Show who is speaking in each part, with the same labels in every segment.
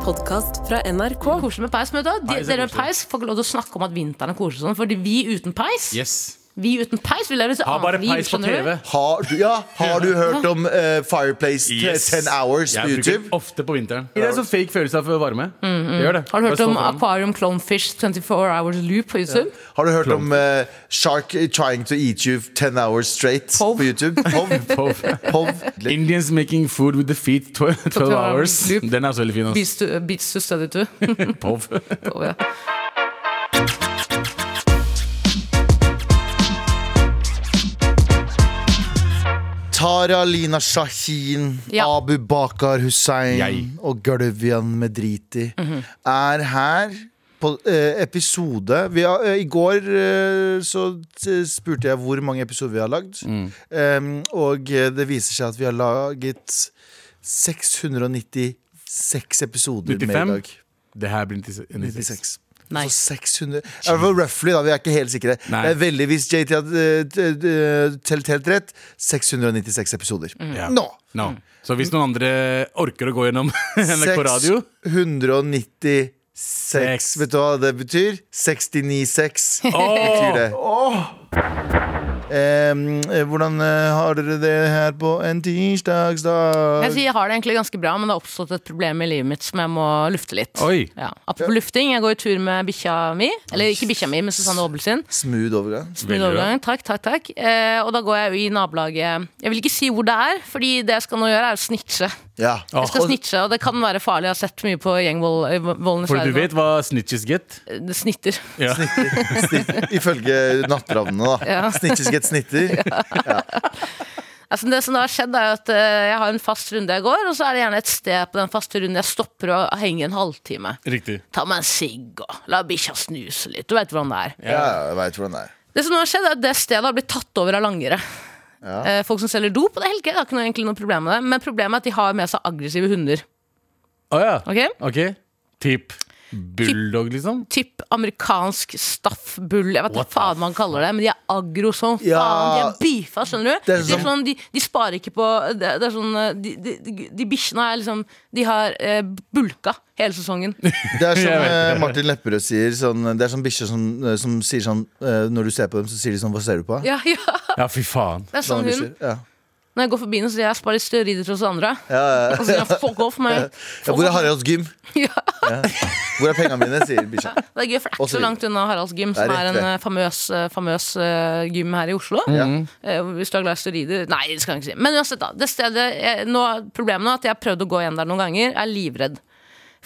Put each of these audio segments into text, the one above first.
Speaker 1: podkast fra NRK.
Speaker 2: Koselig med peis. Men vet du, hva? de,
Speaker 3: Peis er
Speaker 2: dere med
Speaker 3: koselig.
Speaker 2: peis får ikke lov til å snakke om at vinteren er koselig og sånn, fordi vi uten peis
Speaker 3: Yes. Ah,
Speaker 2: Vi uten peis vil leve et
Speaker 3: Ha
Speaker 2: annet
Speaker 3: bare
Speaker 2: liv,
Speaker 3: peis på
Speaker 2: skjønner du?
Speaker 3: TV.
Speaker 4: Har du, ja, har du hørt om eh, Fireplace t-
Speaker 3: Yes.
Speaker 4: 10 Hours på
Speaker 3: Jeg bruker den
Speaker 4: YouTube?
Speaker 3: ofte på vinteren. Mm, Det er en sånn fake følelse av varme. Gjør det.
Speaker 2: Har du hørt
Speaker 3: Bare stå
Speaker 2: om
Speaker 3: foran.
Speaker 2: Aquarium Clonefish 24 Hours Loop på YouTube?
Speaker 4: Har du hørt om eh, Shark Trying to Eat You 10 Hours Straight
Speaker 2: Hov.
Speaker 4: på YouTube? Hov.
Speaker 3: Pov.
Speaker 4: Hov.
Speaker 3: Indians making food with the feet 12, 12 hours.
Speaker 2: Loop.
Speaker 3: Den er også veldig fin. ass.
Speaker 2: Beats to, beats to study to.
Speaker 3: Pov.
Speaker 2: På, ja.
Speaker 4: Tara Lina Shahin,
Speaker 2: Ja.
Speaker 4: Abu Bakar Hussein
Speaker 3: Jeg.
Speaker 4: og Gardivian Medriti er her på eh, episode vi har, eh, I går eh, så t- spurte jeg hvor mange episoder vi har lagd. Em, og eh, det viser seg at vi har laget 696 episoder med
Speaker 3: 95?
Speaker 4: i dag.
Speaker 3: Det her blir 96.
Speaker 4: 96.
Speaker 2: Nice.
Speaker 4: Så 600 I hvert fall roughly, da. Vi er ikke helt sikre.
Speaker 3: Nei.
Speaker 4: Det er veldig hvis JT hadde eh, t- eh, telt helt rett. 696 episoder.
Speaker 2: Mm.
Speaker 3: Ja.
Speaker 4: Nå!
Speaker 3: No. Så hvis noen andre orker å gå gjennom NRK Radio
Speaker 4: 696. Vet du hva det betyr? 696 betyr det. Em, eh, hvordan eh, har dere det her på en tirsdagsdag?
Speaker 2: Jeg, sier, jeg har det egentlig ganske bra, men det har oppstått et problem i livet mitt som jeg må lufte litt.
Speaker 3: Oi.
Speaker 2: Ja. Apropos lufting, jeg går i tur med bikkja mi. Eller ikke bikkja mi, men Susanne Hobbel sin.
Speaker 4: Smooth overgang.
Speaker 2: Smooth
Speaker 3: Veldig bra.
Speaker 2: overgang. Takk, takk, takk. Eh, og da går jeg jo i nabolaget Jeg vil ikke si hvor det er, fordi det jeg skal nå gjøre, er å snitche.
Speaker 4: Ja.
Speaker 3: Åh,
Speaker 2: Jeg skal snitche, og det kan være farlig. Jeg har sett mye på gjengvold eh, volden i
Speaker 3: For du
Speaker 2: Sverige.
Speaker 3: vet hva snitches get?
Speaker 2: Det snitter.
Speaker 3: Ja.
Speaker 4: Ifølge Natteravnene, da.
Speaker 2: Ja.
Speaker 4: Snitchesket snitter.
Speaker 2: Altså, det som da har skjedd, er jo at eh, jeg har en fast runde jeg går, og så er det gjerne et sted på den faste runden jeg stopper og henger en halvtime.
Speaker 3: Riktig.
Speaker 2: Ta meg en sigg og la bikkja snuse litt. Du veit hvordan det er.
Speaker 4: Ja, jeg veit hvordan det er.
Speaker 2: Det som nå har skjedd, er at det stedet har blitt tatt over av langere. Eh, folk som selger dop, og det er helt greit, jeg har ikke noe, egentlig noe problem med det. Men problemet er at de har med seg aggressive hunder.
Speaker 3: Å ja.
Speaker 2: Ok?
Speaker 3: Ok. Typ bulldog, liksom?
Speaker 2: Typ amerikansk staff bull, jeg vet ikke hva faen man kaller det, men de er aggro som faen. De
Speaker 4: Ja.
Speaker 2: er beefa, skjønner du?
Speaker 4: Det er
Speaker 2: de, er
Speaker 4: som-
Speaker 2: sånn, de, de sparer ikke på Det, det er sånn eh, De, de, de, de bikkjene er liksom De har eh, bulka hele sesongen.
Speaker 4: Det er som
Speaker 3: Jeg vet
Speaker 4: eh, Martin Lepperød sier sånn, Det er sånn bikkjer som, eh, som sier sånn eh, Når du ser på dem, så sier de sånn Hva ser du på?
Speaker 2: Ja, ja,
Speaker 3: Ja, fy faen.
Speaker 2: det er sånn
Speaker 4: Sånne
Speaker 2: hund.
Speaker 4: bikkjer, ja.
Speaker 2: Når jeg går forbi den, så sier jeg jeg sparer litt steroider til oss andre.
Speaker 4: ja,
Speaker 2: Og så sier han fuck off meg.
Speaker 4: ja, Hvor er Haralds gym?
Speaker 2: Ja.
Speaker 4: Hvor er pengene mine? sier bikkja.
Speaker 2: Det er gøy, for det er ikke
Speaker 4: Og så
Speaker 2: så
Speaker 4: videre.
Speaker 2: langt unna Haralds gym, som
Speaker 4: Det er
Speaker 2: er
Speaker 4: rett
Speaker 2: en
Speaker 4: ved.
Speaker 2: eh, famøs, eh, famøs eh, gym her i Oslo.
Speaker 4: Ja.
Speaker 2: Eh, Hvis du er glad i steroider Nei, det skal jeg ikke si. Men uansett, da. Det stedet, jeg, nå, problemet nå er at jeg har prøvd å gå igjen der noen ganger. Jeg er livredd.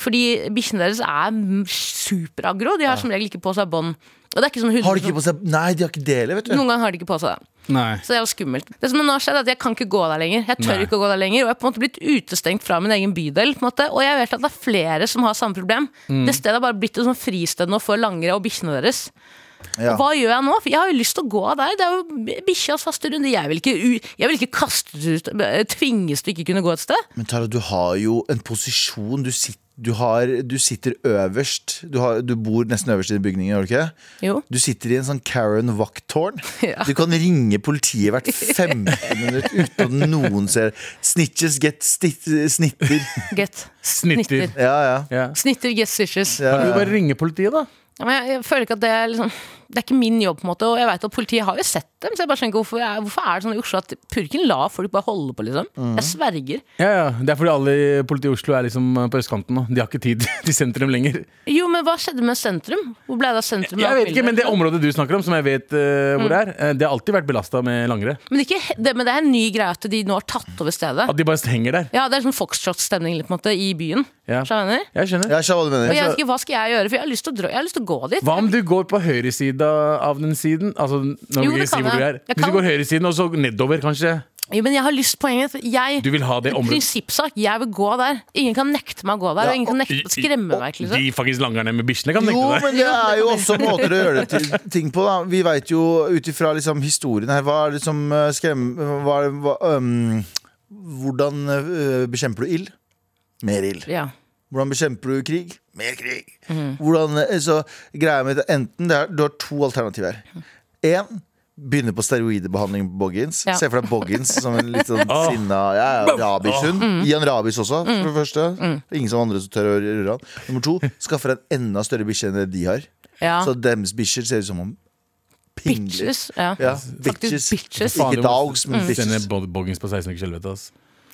Speaker 2: Fordi bikkjene deres er m- superaggro. De har som regel ikke på seg bånd. Og det er ikke sånn
Speaker 4: Har de
Speaker 2: hunder
Speaker 4: ikke på seg Nei, de har ikke det heller, vet du.
Speaker 2: Noen ganger har de ikke på seg det.
Speaker 3: Nei.
Speaker 2: Så det er jo skummelt. Det som nå har skjedd, er at jeg kan ikke gå der lenger. Jeg tør
Speaker 3: Nei.
Speaker 2: ikke å gå der lenger, og jeg er på en måte blitt utestengt fra min egen bydel. På en måte. Og jeg vet at det er flere som har samme problem. Det stedet har bare blitt et sånn fristed nå for langere og bikkjene deres.
Speaker 4: Ja.
Speaker 2: Hva gjør jeg nå? For jeg har jo lyst til å gå der. Det er jo bikkjas faste runde. Jeg vil ikke, u- jeg vil ikke kastes ut, tvinges til ikke kunne gå et sted.
Speaker 4: Men Tara, du har jo en posisjon. Du, sit, du, har, du sitter øverst. Du, har, du bor nesten øverst i bygningen, gjør du ikke? det?
Speaker 2: Jo.
Speaker 4: Du sitter i en sånn Karen Wack-tårn.
Speaker 2: Ja.
Speaker 4: Du kan ringe politiet hvert 15 minutt uten at noen ser. Snitches get stit, snitter.
Speaker 2: Get.
Speaker 3: Snitter.
Speaker 2: Snitter.
Speaker 4: Ja, ja.
Speaker 3: Ja.
Speaker 2: Snitter, get stitches.
Speaker 4: ja,
Speaker 3: Kan du
Speaker 4: ja.
Speaker 3: bare ringe politiet, da?
Speaker 2: Ja, men jeg, jeg føler ikke at det er liksom Det er ikke min jobb, på en måte. Og jeg vet at politiet har jo sett dem, så jeg bare skjønner ikke hvorfor, jeg, hvorfor er det sånn i Oslo at purken lar folk bare holde på, liksom.
Speaker 4: Mm.
Speaker 2: Jeg sverger.
Speaker 3: Ja, ja. Det er fordi alle i politiet i Oslo er liksom på østkanten nå. De har ikke tid til sentrum lenger.
Speaker 2: Jo, men hva skjedde med sentrum? Hvor ble det av sentrum?
Speaker 3: Jeg vet ikke, Men det
Speaker 2: men,
Speaker 3: området du snakker om, som jeg vet eh, hvor det er, eh, det har alltid vært belasta med langere.
Speaker 2: ikke, he- det, men det er en ny greie at de nå har tatt over stedet.
Speaker 3: At de bare henger der.
Speaker 2: Ja, det er sånn Foxtrot-stemning litt på en måte i byen.
Speaker 3: Ja. Altså-
Speaker 2: Skjønner du hva jeg mener?
Speaker 3: Jeg skjønner.
Speaker 4: Jeg skjønner hva du mener.
Speaker 2: Og jeg vet ikke, Hva skal jeg gjøre? For jeg har lyst til å, dra, jeg har lyst til å gå dit.
Speaker 3: Hva om du går på høyresida av den siden? Altså, nå
Speaker 2: Jo, det
Speaker 3: vil jeg ikke
Speaker 2: kan
Speaker 3: si hvor du
Speaker 2: jeg.
Speaker 3: er.
Speaker 2: Jeg
Speaker 3: Hvis
Speaker 2: kan.
Speaker 3: du går høyresiden og så nedover, kanskje.
Speaker 2: Jo, men jeg har lyst poenget at jeg
Speaker 3: Du vil ha det området.
Speaker 2: Prinsippsak, jeg vil gå der. Ingen kan nekte meg å gå der. og ingen kan nekte å skremme meg. Liksom.
Speaker 3: De faktisk langerne med bikkjene kan
Speaker 4: Jo,
Speaker 3: nekte deg.
Speaker 4: men det er jo også måter å gjøre det til ting på. Da. Vi veit jo ut ifra liksom, historien her Hva er det som eh, skremmer hva, er det- hva, øhm, Hvordan eh, bekjemper du ild? Mer ild.
Speaker 2: Ja.
Speaker 4: Hvordan bekjemper du krig? Mer krig.
Speaker 2: Mm.
Speaker 4: Hvordan, eh, så greia med det, enten det er, Du har to alternativer. Én Begynner på steroidebehandling på Boggins.
Speaker 2: Ja.
Speaker 4: Se for deg Boggins som en litt sånn
Speaker 3: Åh.
Speaker 4: sinna ja, ja, rabishund.
Speaker 2: Ah. Mm.
Speaker 4: Gi han rabis også, for det første. Ingen som andre som tør å røre han. Nummer to, skaffer en enda større bikkje enn det de har.
Speaker 2: Ja.
Speaker 4: Så deres bikkjer ser ut som om pingler.
Speaker 2: Bitches. Ja.
Speaker 4: Ja,
Speaker 2: Faktisk bitches. Mm.
Speaker 4: Ikke dogs, men
Speaker 3: Sender
Speaker 4: bitches.
Speaker 3: Bod- Boggins på 16 uker helvete, ass.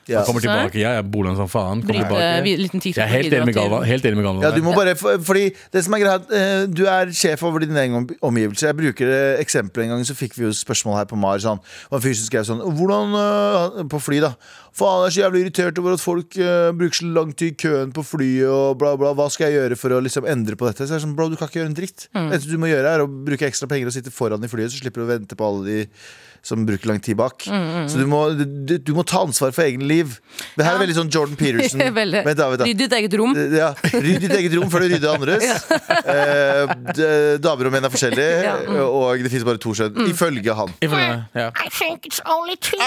Speaker 4: Ja.
Speaker 3: Han kommer tilbake, ja, jeg boler han som faen. Kommer
Speaker 2: Drit- eh,
Speaker 3: tilbake.
Speaker 2: vi- liten tid
Speaker 3: Jeg er helt enig med Galvan. Helt enig med Galvan
Speaker 4: Ja,
Speaker 3: der.
Speaker 4: du må bare, for- fordi det som er greia, eh, Du er sjef over dine egne om- omgivelser. Jeg bruker eh, eksempelet en gang, så fikk vi jo spørsmål her på MAR. Sånn, og en fyr som skrev sånn Hvordan eh, På fly, da. Faen, jeg er så jævlig irritert over at folk eh, bruker så lang tid i køen på flyet og bla, bla. Hva skal jeg gjøre for å liksom endre på dette? Så jeg er sånn, bro, du kan ikke gjøre en dritt.
Speaker 2: Mm.
Speaker 4: Det eneste du må gjøre, er å bruke ekstra penger og sitte foran i flyet, så slipper du å vente på alle de som bruker lang tid bak.
Speaker 2: Mm,
Speaker 4: Så du må, du, du må ta ansvar for egen liv. Det her er
Speaker 2: Ja.
Speaker 4: veldig sånn Jordan Peterson.
Speaker 2: Veldig.
Speaker 4: Vent da, vent da.
Speaker 2: Rydd ditt eget
Speaker 3: Eh,
Speaker 2: rom.
Speaker 4: Eh, Ja, Rydd ditt eget rom før du rydder andres. Eh, d- damer og menn er forskjellige,
Speaker 2: Ja, mm.
Speaker 4: og det finnes bare to kjønn. Ifølge han.
Speaker 3: Ifølge meg, ja.
Speaker 1: I think it's only two.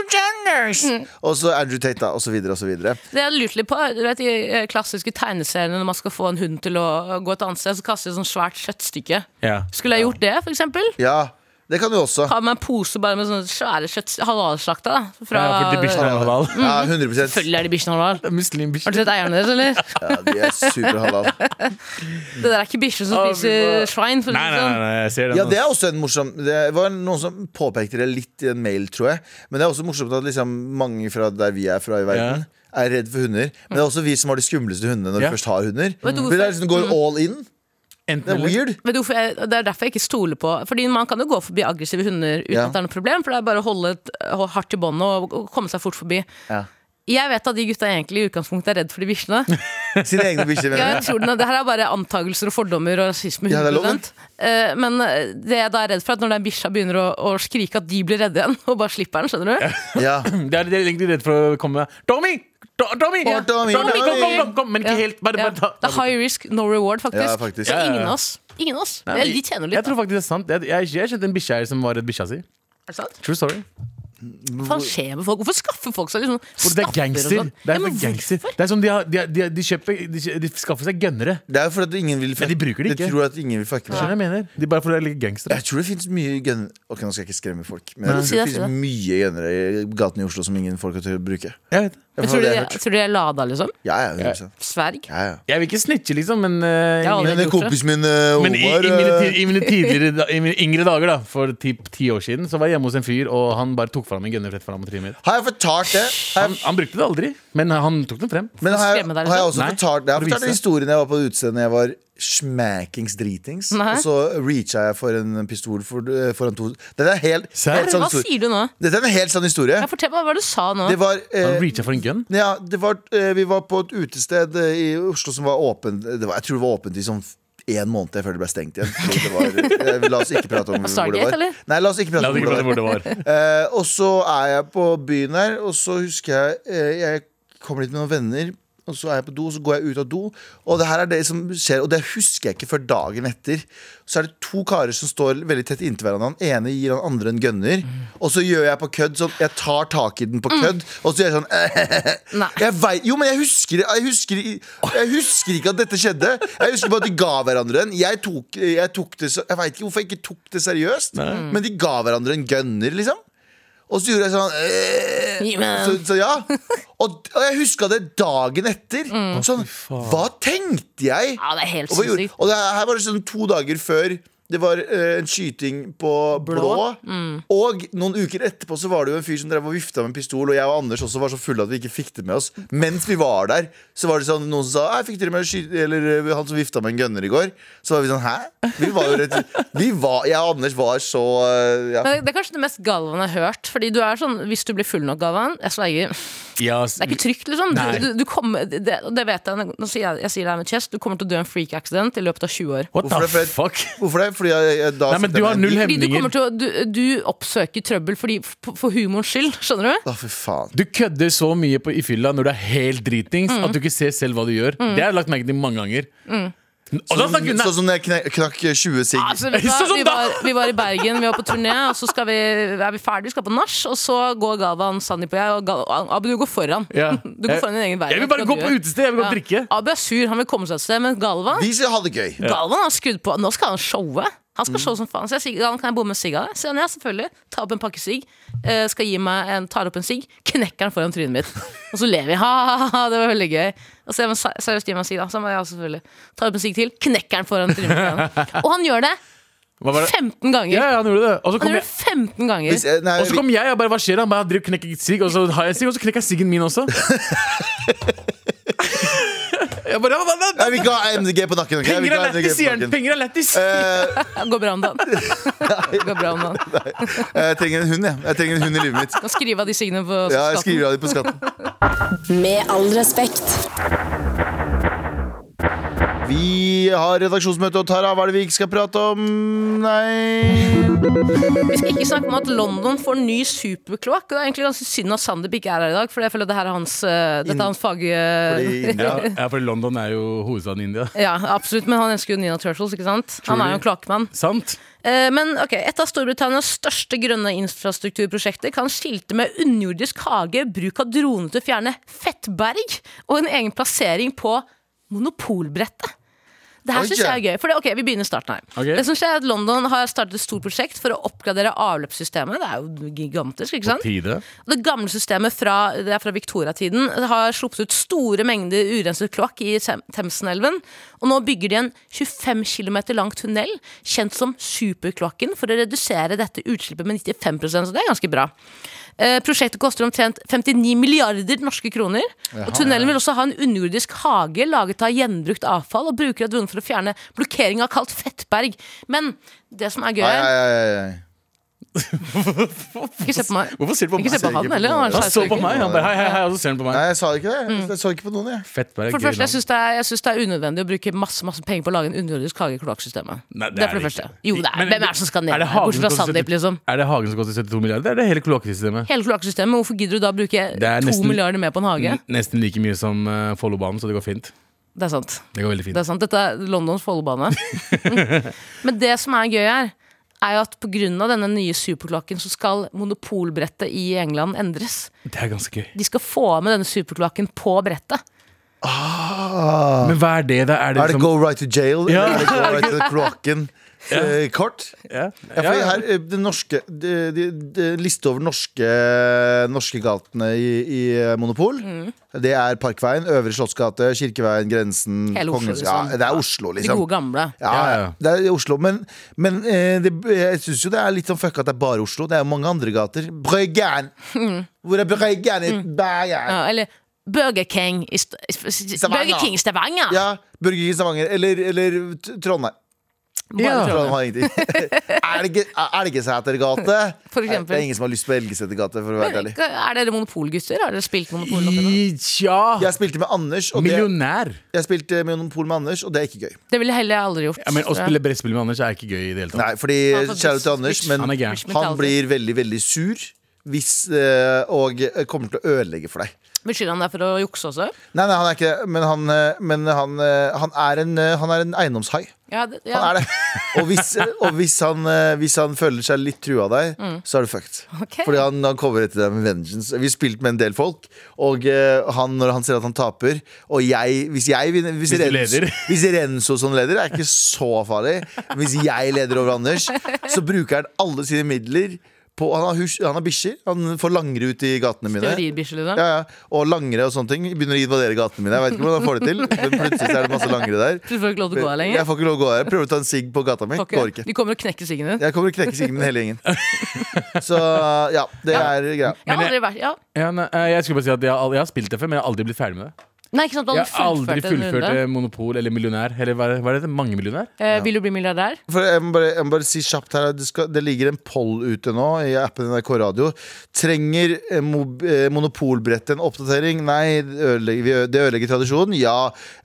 Speaker 4: Og så Andrew Tate, da, og så videre og så videre.
Speaker 2: Det jeg lurte litt på, du vet de eh, klassiske tegneseriene når man skal få en hund til å gå et annet sted, så kaster de et sånt svært kjøttstykke.
Speaker 3: ja.
Speaker 2: Skulle jeg gjort det, for eksempel?
Speaker 4: Ja, det kan du også.
Speaker 2: Ha med en pose bare med sånne svære kjøtt... Halalslakta, da. Fra,
Speaker 3: ja for de bikkjene er halal.
Speaker 4: Ja, 100
Speaker 2: Selvfølgelig er de bikkjene halal. Har
Speaker 3: Muslimbikkjer.
Speaker 2: du sett eierne deres, eller?
Speaker 4: ja, De er superhalal.
Speaker 2: Det der er ikke bikkjer som
Speaker 3: Å, fy
Speaker 2: spiser svein.
Speaker 3: faen.
Speaker 2: For å
Speaker 3: Nei,
Speaker 2: si det
Speaker 3: nei,
Speaker 2: sånn.
Speaker 3: nei, nei, jeg ser den.
Speaker 4: Ja, det er
Speaker 3: ass.
Speaker 4: også en morsom Det var noen som påpekte det litt i en mail, tror jeg. Men det er også morsomt at liksom mange fra der vi er fra i verden, er redd for hunder. Men det er også vi som har de skumleste hundene når
Speaker 3: Ja.
Speaker 4: vi først har hunder.
Speaker 2: Vet du mm.
Speaker 4: Vi
Speaker 2: hvorfor-
Speaker 4: er liksom går all in.
Speaker 3: Enten
Speaker 4: Det er
Speaker 3: eller.
Speaker 4: weird.
Speaker 2: Vet du hvorfor jeg, Det er derfor jeg ikke stoler på Fordi Man kan jo gå forbi aggressive hunder uten
Speaker 4: Ja.
Speaker 2: at det er noe problem. For det er bare å holde et, å, hardt i båndet og, og komme seg fort forbi.
Speaker 4: Ja.
Speaker 2: Jeg vet at de gutta egentlig i utgangspunktet er redd for de bikkjene.
Speaker 4: Sine egne
Speaker 2: Ja,
Speaker 4: bikkjer. mener
Speaker 2: jeg
Speaker 4: jeg.
Speaker 2: tror den, det her er bare antakelser og fordommer og rasisme.
Speaker 4: Ja, det er lov,
Speaker 2: 100%. Eh, Men det jeg da er redd for, er at når den bikkja begynner å, å skrike, at de blir redde igjen og bare slipper den. skjønner du?
Speaker 4: Ja.
Speaker 3: Det er, det er egentlig redd for å komme Tommy! To- Tommy!
Speaker 4: Ja. Tommy,
Speaker 3: Kom,
Speaker 4: Tommy!
Speaker 3: kom, kom, kom, kom! Men ikke helt. Bare,
Speaker 2: Ja.
Speaker 3: bare ta.
Speaker 2: Det er high risk, no reward, faktisk.
Speaker 4: Ja, faktisk.
Speaker 2: Så
Speaker 3: Ja, ja, ja.
Speaker 2: ingen av oss. Ingen av oss. Eller de tjener litt,
Speaker 3: Jeg tror faktisk det er sant. Jeg, jeg, jeg kjente en bikkje her som var redd bikkja si.
Speaker 2: da. Er det sant?
Speaker 3: True story.
Speaker 2: Hva faen skjer med folk? Hvorfor skaffer folk seg liksom
Speaker 3: For det
Speaker 2: staffer
Speaker 3: er
Speaker 2: og
Speaker 3: gangster.
Speaker 2: sånn?
Speaker 3: Det
Speaker 2: Ja,
Speaker 3: er,
Speaker 2: men
Speaker 3: for gangster. Det er som de, har, de, har- de, har- de, kjøper, de, kjø- de skaffer seg gønnere.
Speaker 4: Det er jo fordi at ingen vil fuck-
Speaker 3: Men de bruker det ikke.
Speaker 4: Jeg tror at ingen vil fucke med
Speaker 3: Skjønner du hva jeg mener? De bare for å ligge gangster.
Speaker 4: Jeg tror det finnes mye gønn... Ok, nå skal jeg ikke skremme folk Men
Speaker 2: Nei.
Speaker 4: jeg
Speaker 2: Si det,
Speaker 4: tror det
Speaker 2: si det.
Speaker 4: finnes mye gønnere i gatene i Oslo Som ingen folk har til å bruke Ja,
Speaker 3: Jeg vet det.
Speaker 2: Jeg
Speaker 4: for
Speaker 2: tror,
Speaker 4: det
Speaker 2: de,
Speaker 4: jeg har
Speaker 2: jeg
Speaker 4: hørt.
Speaker 2: tror de er lada, liksom.
Speaker 4: ja, ja, 100%.
Speaker 2: Sverg.
Speaker 4: ja, ja.
Speaker 3: Jeg vil ikke snitche, liksom, men, eh,
Speaker 2: Ja,
Speaker 3: ingen-
Speaker 2: det-
Speaker 4: Men en kompis min, eh,
Speaker 3: men i,
Speaker 4: Omar
Speaker 3: i, mine,
Speaker 4: eh,
Speaker 3: ti- i mine tidligere da- I mine yngre dager, da for typ ti år siden, Så var jeg hjemme hos en fyr, og han bare tok fram en gunner rett foran trynet mitt.
Speaker 4: Har jeg fortalt det? Har
Speaker 3: Han,
Speaker 4: jeg,
Speaker 3: han brukte det aldri, men han tok den frem.
Speaker 4: men har jeg,
Speaker 2: skremme deg,
Speaker 4: har jeg
Speaker 2: liksom?
Speaker 4: også
Speaker 3: Nei,
Speaker 4: fortalt det? Jeg
Speaker 3: for å
Speaker 4: har fortalt
Speaker 3: vise.
Speaker 4: den historien jeg var på utstedet Jeg var smackings dritings
Speaker 2: Nei.
Speaker 4: Og så reacha jeg for en pistol for, eh, foran to Dette er helt,
Speaker 3: Serr?
Speaker 4: helt sann
Speaker 2: Hva
Speaker 4: historie
Speaker 2: sier du nå?
Speaker 4: Dette er en helt sann historie
Speaker 2: Ja, Fortell meg hva du sa nå.
Speaker 4: Sånn Det var eh,
Speaker 3: Han reacha for en gun.
Speaker 4: Ja, det var, eh, vi var på et utested eh, i Oslo som var åpent det var, Jeg tror det var åpent i sånn én måned før det ble stengt igjen. Så Det var, eh, la oss ikke prate om hvor det
Speaker 2: Stargate,
Speaker 4: var.
Speaker 2: eller?
Speaker 4: Nei, la oss ikke prate
Speaker 3: La oss
Speaker 4: om
Speaker 3: ikke
Speaker 4: hvor
Speaker 3: prate
Speaker 4: det
Speaker 3: om
Speaker 4: var.
Speaker 3: hvor det var.
Speaker 4: Eh, og så er jeg på byen her, og så husker jeg eh, Jeg kommer dit med noen venner, og så er jeg på do, og så går jeg ut av do. Og det her er det som skjer, og det husker jeg ikke før dagen etter. Så er det to karer som står veldig tett inntil hverandre. Han ene gir han andre en gønner. Og så gjør jeg på kødd sånn, jeg tar tak i den på kødd, og så gjør jeg sånn
Speaker 2: Nei.
Speaker 4: jeg vei- Jo, men jeg husker, jeg, husker, jeg husker ikke at dette skjedde. Jeg husker bare at de ga hverandre en. Jeg, tok, jeg, tok det, så- jeg veit ikke hvorfor jeg ikke tok det seriøst,
Speaker 2: Mm.
Speaker 4: men de ga hverandre en gunner, liksom. Og så gjorde jeg sånn
Speaker 2: Gi
Speaker 4: øh,
Speaker 2: meg
Speaker 4: så,
Speaker 2: den.
Speaker 4: så ja Og, og jeg huska det dagen etter.
Speaker 2: Mm.
Speaker 4: Sånn, hva tenkte jeg?
Speaker 2: Ja, det er helt
Speaker 4: Og, hva gjorde,
Speaker 2: sinnssykt.
Speaker 4: og det her var det sånn to dager før det var eh, en skyting på Blå. Og noen uker etterpå så var det jo en fyr som drev og vifta med en pistol, og jeg og Anders også var så fulle at vi ikke fikk det med oss. Mens vi var der, så var det sånn noen som sa «Jeg fikk dere med sky Eller eh, han som vifta med en gunner i går. Så var vi sånn Hæ? Vi var jo rett vi var, Jeg og Anders var så eh, ja.
Speaker 2: Men Det er kanskje det mest Galvan har hørt. Fordi du er sånn, Hvis du blir full nok, Galvan Jeg sverger.
Speaker 3: Ja,
Speaker 2: Det er ikke trygt, liksom.
Speaker 3: Nei.
Speaker 2: Du, du, du kommer, det, og det vet jeg, nå sier jeg, jeg sier det her med chest, du kommer til å dø av en freak accident i løpet av 20 år.
Speaker 3: What
Speaker 4: Hvorfor er
Speaker 3: the
Speaker 4: Fred-
Speaker 3: fuck?
Speaker 4: Hvorfor det? Fordi jeg, jeg, da
Speaker 3: Nei, men
Speaker 4: setter
Speaker 3: du
Speaker 4: jeg
Speaker 3: har
Speaker 4: meg
Speaker 3: null
Speaker 4: inn i-
Speaker 2: Fordi du,
Speaker 3: hemninger.
Speaker 2: kommer til å, du, du oppsøker trøbbel fordi, for, for humorens skyld, skjønner du?
Speaker 4: Å, fy faen.
Speaker 3: Du kødder så mye på, i fylla når du er helt dritings
Speaker 2: Mm.
Speaker 3: at du ikke ser selv hva du gjør. Det har jeg lagt merke til mange ganger. Og da
Speaker 4: Sånn
Speaker 3: snakker vi
Speaker 4: sånn som når jeg kne- knakk 20 sigg.
Speaker 2: Altså, vet du
Speaker 3: Sånn
Speaker 2: hva?
Speaker 3: som
Speaker 2: vi,
Speaker 3: da.
Speaker 2: var, vi var i Bergen, vi var på turné, og så skal vi, er vi ferdige, vi skal på nach, og så går Galvan, Sandeep og jeg, og Gal- Abu, du går foran.
Speaker 3: Ja.
Speaker 2: Du går foran din egen verden.
Speaker 3: Jeg vil bare gå på utested, jeg vil gå
Speaker 2: Ah,
Speaker 3: og drikke.
Speaker 2: Abu er sur, han vil komme seg et sted, men Galvan,
Speaker 4: De som hadde gøy.
Speaker 2: Galvan har skrudd på. Nå skal han showe. Han
Speaker 4: Mm.
Speaker 2: skal show som faen. Så jeg sier, han kan jeg bomme sigg av deg? Sier han ja, selvfølgelig. Ta opp en pakke sigg. eh, Skal gi meg en, tar opp en sigg, knekker den foran trynet mitt. Og så ler vi. Ha, ha, ha, ha, det var veldig gøy. Og så er han se- seriøst gi meg en sigg, da. Så han bare, ja, selvfølgelig. Tar opp en sigg til, knekker den foran trynet mitt. igjen. Og han gjør det
Speaker 3: Hva var det?
Speaker 2: 15
Speaker 3: Ja,
Speaker 2: ganger.
Speaker 3: ja, han gjorde det. Og så
Speaker 2: Han
Speaker 3: kom
Speaker 2: gjør det
Speaker 3: jeg,
Speaker 2: 15
Speaker 4: Hvis,
Speaker 2: ganger.
Speaker 4: eh, nei,
Speaker 3: og så
Speaker 4: vi-
Speaker 3: kom jeg og jeg bare hva skjer? Han bare han driver og knekker sigg, og så har jeg sigg, og så knekker jeg siggen min også. jeg bare, hva, hva, hva?
Speaker 4: nei, vi ga MDG på nakken. ok? Vi
Speaker 3: Penger
Speaker 4: ga
Speaker 3: er
Speaker 4: MDG
Speaker 3: lættis,
Speaker 4: på
Speaker 3: sier han.
Speaker 4: nakken.
Speaker 3: Penger er lættis.
Speaker 4: Eh,
Speaker 2: Går bra om dagen. Går bra om dagen.
Speaker 4: jeg trenger en hund, jeg. Jeg trenger en hund i livet mitt.
Speaker 2: Kan skrive av de siggene på
Speaker 4: Ja, jeg
Speaker 2: skatten.
Speaker 4: skriver av dem på skatten.
Speaker 1: Med all respekt.
Speaker 4: Vi har redaksjonsmøte, og Tara, hva er det vi ikke skal prate om? Nei
Speaker 2: Vi skal ikke snakke om at London får ny superkloakk. Det er egentlig ganske synd at Sandeep ikke er her i dag, for jeg føler at det her er hans, eh, dette er hans fag... eh,
Speaker 4: Fordi-
Speaker 3: Ja, ja, for London er jo hovedstaden i India.
Speaker 2: Ja, absolutt, men han elsker jo Nina Turtles, ikke sant? Han er jo en kloakkmann.
Speaker 3: Sant?
Speaker 2: Eh, Men ok, et av Storbritannias største grønne infrastrukturprosjekter kan skilte med underjordisk hage, bruk av drone til å fjerne fettberg, og en egen plassering på monopolbrettet. Det her
Speaker 4: Oi,
Speaker 2: synes jeg er gøy. For det, ok, Vi begynner starten her.
Speaker 3: Ok.
Speaker 2: Det som skjer er at London har startet et stort prosjekt for å oppgradere avløpssystemet. Det er jo gigantisk, ikke sant?
Speaker 3: Tide.
Speaker 2: Og Det gamle systemet fra, det er fra Victoria-tiden det har sluppet ut store mengder urenset kloakk i Tem- Themsenelven. Og nå bygger de en 25 km lang tunnel, kjent som Superkloakken, for å redusere dette utslippet med 95 så det er ganske bra. Eh, prosjektet koster omtrent 59 milliarder norske kroner. og tunnelen vil også ha en underjordisk hage laget av gjenbrukt avfall, og bruker av droner for å fjerne blokkering av kaldt fettberg. Men det som er gøy
Speaker 4: Ai, ai, ai, ai.
Speaker 2: Ikke se på meg.
Speaker 3: Hvorfor ser du på
Speaker 2: Ikke se på
Speaker 3: meg?
Speaker 2: han heller. Han er
Speaker 3: Han så
Speaker 2: sveitsiker.
Speaker 3: på meg, han bare hei, hei, hei, og så ser han på meg.
Speaker 4: Nei, jeg sa ikke det.
Speaker 3: Mm.
Speaker 4: Jeg så ikke på noen, jeg.
Speaker 3: Fettberg,
Speaker 2: For det
Speaker 3: gøy
Speaker 2: første, jeg
Speaker 3: navn.
Speaker 2: syns det, er- jeg synes det er unødvendig å bruke masse masse penger på å lage en underjordisk hage i kloakksystemet.
Speaker 3: Nei,
Speaker 2: Det er for det
Speaker 3: ikke.
Speaker 2: første. Jo, det er,
Speaker 3: Men-
Speaker 2: hvem er det som skal ned
Speaker 3: er
Speaker 2: der?
Speaker 3: det
Speaker 2: Bortsett fra
Speaker 3: Hagen som koster
Speaker 2: Sandeep, liksom.
Speaker 3: 72 Er det Hagen som koster 72 milliarder? Det er det hele kloakksystemet.
Speaker 2: Hele kloakksystemet. Hvorfor gidder du da bruke
Speaker 3: er
Speaker 2: to
Speaker 3: nesten- Mm.
Speaker 2: milliarder mer på en hage?
Speaker 3: N- Nesten like mye som eh, Follobanen, så det går fint.
Speaker 2: Det er sant.
Speaker 3: Det går veldig fint.
Speaker 2: Det er sant. Dette er Londons Follobane. Men det som er gøy her, er jo at pga. denne nye superkloakken så skal monopolbrettet i England endres.
Speaker 3: Det er ganske gøy.
Speaker 2: De skal få med denne superkloakken på brettet.
Speaker 3: Men hva er det, da? Er det,
Speaker 4: Er det
Speaker 3: Ah. liksom
Speaker 4: go right to jail?
Speaker 3: Ja.
Speaker 4: Eller er det go right to the kloakken? Eh, Kort?
Speaker 3: ja.
Speaker 4: Ja,
Speaker 3: Ja,
Speaker 4: for
Speaker 3: ja.
Speaker 4: her, eh, det norske det, det, det, Liste over norske Norske gatene i, i eh, Monopol.
Speaker 2: Mm.
Speaker 4: Det er Parkveien, Øvre Slottsgate, Kirkeveien, Grensen
Speaker 2: Hele Oslo,
Speaker 4: Kongens-
Speaker 2: liksom.
Speaker 4: Ja, det er Oslo,
Speaker 2: De
Speaker 4: liksom.
Speaker 2: gode gamle.
Speaker 4: Ja,
Speaker 3: Ja, ja.
Speaker 4: det er Oslo, men, men eh, det, jeg syns jo det er litt sånn fucka at det er bare Oslo. Det er jo mange andre gater. Bryggen! Hvor er Bryggen i Bergen?
Speaker 2: Mm. Ja, eller Burger King i St
Speaker 4: Stavanger.
Speaker 2: Burger King i Stavanger.
Speaker 4: Ja, Burger King i Stavanger. Eller, eller T- Trondheim.
Speaker 2: Bare
Speaker 3: Ja.
Speaker 2: Trondheim.
Speaker 4: Trondheim har ingenting. Elge, Elgesetergate.
Speaker 2: For
Speaker 4: Det
Speaker 2: eksempel.
Speaker 4: er ingen som har lyst på Elgesetergate, for å være helt ærlig.
Speaker 2: Er dere monopolgutter? Har dere spilt monopol? opp igjennom?
Speaker 3: I, ja.
Speaker 4: Jeg spilte med Anders, og det,
Speaker 3: Millionær!
Speaker 4: jeg spilte Monopol med Anders, og det er ikke gøy.
Speaker 2: Det ville heller jeg aldri gjort.
Speaker 3: Ja, men Å
Speaker 2: tror jeg.
Speaker 3: spille brettspill med Anders er ikke gøy i det hele tatt.
Speaker 4: Nei, fordi
Speaker 2: Han har fått
Speaker 4: kjære til
Speaker 2: rich-
Speaker 4: Anders,
Speaker 2: rich-
Speaker 4: men
Speaker 3: Han er gæren.
Speaker 2: rich mentality.
Speaker 4: han blir veldig, veldig sur hvis, eh, og eh, kommer til å ødelegge for deg.
Speaker 2: Beskylder han deg for å jukse også?
Speaker 4: Nei, nei, han er ikke det, men han, eh, men han, eh, han, er, en, eh, han er en eiendomshai.
Speaker 2: Ja, det, ja.
Speaker 4: Han er det. Og hvis, eh, og hvis, han, eh, hvis han føler seg litt trua av deg, så er du fucked.
Speaker 2: Mm. Ok.
Speaker 4: Fordi han, han kommer etter deg med vengeance. Vi har spilt med en del folk, og eh, han, når han ser at han taper Og jeg, hvis jeg vinner Hvis,
Speaker 3: Hvis du
Speaker 4: Renzo-
Speaker 3: leder.
Speaker 4: hvis Renzo som leder, er ikke så farlig. Men Hvis jeg leder over Anders, så bruker han alle sine midler på Han har, hus, han har bikkjer. Han får langere ut i gatene mine.
Speaker 2: Teoribikkje, liksom?
Speaker 4: Ja, ja. Og langere og sånne ting. Begynner å invadere gatene mine. Jeg vet ikke hvordan han får det til. Men plutselig så er det masse langere der.
Speaker 2: Du får ikke lov til å gå her lenger?
Speaker 4: Jeg får ikke lov å gå her. Prøver å ta en sigg på gata mi.
Speaker 2: Får ikke.
Speaker 4: Går ikke.
Speaker 2: De kommer og knekker siggen din.
Speaker 4: Jeg kommer til å knekke siggen min hele gjengen. Så ja, det er greia.
Speaker 2: Jeg har
Speaker 3: Men
Speaker 2: aldri vært ja.
Speaker 3: Ja, nei, eh, jeg skulle bare si at jeg, har al- jeg har spilt det før, men jeg har aldri blitt ferdig med det.
Speaker 2: Nei, ikke sant, du
Speaker 3: Jeg
Speaker 2: hadde
Speaker 3: har aldri
Speaker 2: fullført,
Speaker 3: fullført
Speaker 2: en runde.
Speaker 3: eh, Monopol eller Millionær. Eller hva hva er det? Mangemillionær?
Speaker 2: Eh, vil du bli milliardær?
Speaker 4: For jeg, må bare, jeg må bare si kjapt her det, skal, det ligger en poll ute nå i appen NRK Radio. Trenger eh, mob- eh, monopolbrettet en oppdatering? Nei, det ødelegger, vi ø- det ødelegger tradisjonen. Ja,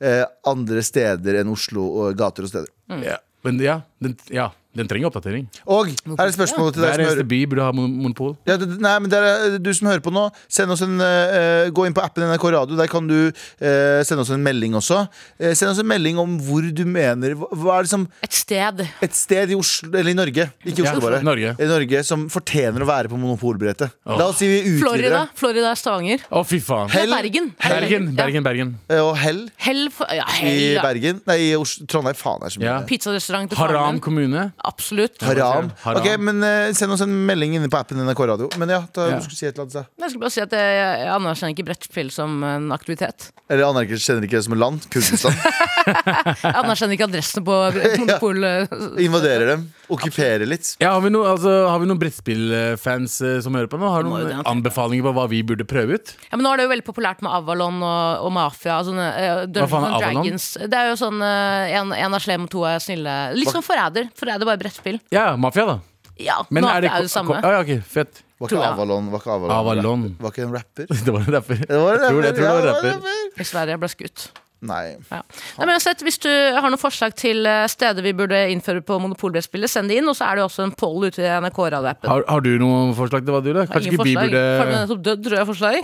Speaker 4: eh, andre steder enn Oslo og gater og steder.
Speaker 2: Mm.
Speaker 3: Ja. Men ja den, ja, den trenger oppdatering.
Speaker 4: Og her er spørsmålet til deg
Speaker 3: Hver
Speaker 4: som hører
Speaker 3: eneste by burde ha mon- monopol.
Speaker 4: Ja, det, nei, men det er eh, du som hører på nå. Send oss en, eh, gå inn på appen NRK Radio. Der kan du eh, sende oss en melding også. Eh, send oss en melding om hvor du mener Hva, hva er det som
Speaker 2: Et sted.
Speaker 4: et sted i Oslo Eller i Norge, ikke i
Speaker 3: Ja,
Speaker 4: Oslo, bare.
Speaker 3: Norge.
Speaker 4: I Norge som fortjener å være på monopolbrettet.
Speaker 3: Åh.
Speaker 4: La oss si vi utvider det.
Speaker 2: Florida. Florida er Stavanger.
Speaker 3: Å, fy faen.
Speaker 2: Det
Speaker 4: Hell.
Speaker 2: er Bergen.
Speaker 3: Bergen,
Speaker 2: Ja.
Speaker 3: Bergen, Bergen.
Speaker 4: eh, Og Hell
Speaker 2: Hell, for, ja,
Speaker 4: i
Speaker 2: hell ja.
Speaker 4: Bergen. Nei, i Oslo, Trondheim. Faen, det er så mye.
Speaker 3: Ja.
Speaker 2: Pizzarestaurant til faren
Speaker 3: Haram
Speaker 2: min.
Speaker 3: kommune.
Speaker 2: Absolutt. Jeg
Speaker 4: Haram.
Speaker 3: Haram.
Speaker 4: Ok, men eh, Send oss en melding inne på appen NRK Radio. Men ja, da,
Speaker 3: Ja.
Speaker 4: du skulle si et eller annet. sa jeg.
Speaker 2: skulle bare si at jeg, jeg anerkjenner ikke brettspill som en aktivitet.
Speaker 4: Eller anerkjenner kjenner ikke det som et land. Kurdistan.
Speaker 2: Jeg anerkjenner ikke adressene på Monopol. eh,
Speaker 4: Invaderer dem. Okkuperer litt.
Speaker 3: Ja, har vi noen altså, har vi noen brettspillfans eh, som hører på nå? Har du
Speaker 2: Må jo det,
Speaker 3: noen
Speaker 2: altså.
Speaker 3: anbefalinger på hva vi burde prøve ut?
Speaker 2: Ja, men nå er det jo veldig populært med Avalon og, og Mafia. Og sånne, eh, Dungeons
Speaker 3: faen er
Speaker 2: and
Speaker 3: Avalon?
Speaker 2: Dragons. Det er jo sånn eh, en, en er slem, to er snille. Litt sånn forræder. Forræder bare brettspill.
Speaker 3: Ja, Mafia, da.
Speaker 2: Ja,
Speaker 3: Men
Speaker 2: Mafia
Speaker 3: er det,
Speaker 2: er jo det samme.
Speaker 3: ko- Ja, ok, fett.
Speaker 4: Var
Speaker 2: Tror
Speaker 4: ikke
Speaker 2: jeg.
Speaker 4: Avalon Var ikke Avalon,
Speaker 3: Avalon.
Speaker 4: Var ikke en rapper?
Speaker 3: Det var en rapper.
Speaker 4: Det var en
Speaker 3: Tror det,
Speaker 4: rapper,
Speaker 3: tror det var
Speaker 4: ja,
Speaker 3: en
Speaker 4: en
Speaker 3: rapper.
Speaker 4: rapper.
Speaker 2: Dessverre, jeg ble skutt.
Speaker 4: Nei.
Speaker 2: Ja. Nei, men uansett, hvis du har noen forslag til eh, steder vi burde innføre på monopolbrettspillet, send det inn. Og så er det jo også en poll ute i NRK-radioappen.
Speaker 3: Har, har du noen forslag til hva du gjør? Kanskje ikke vi
Speaker 2: Faren min
Speaker 3: burde
Speaker 2: er nettopp død, tror jeg. Forslag.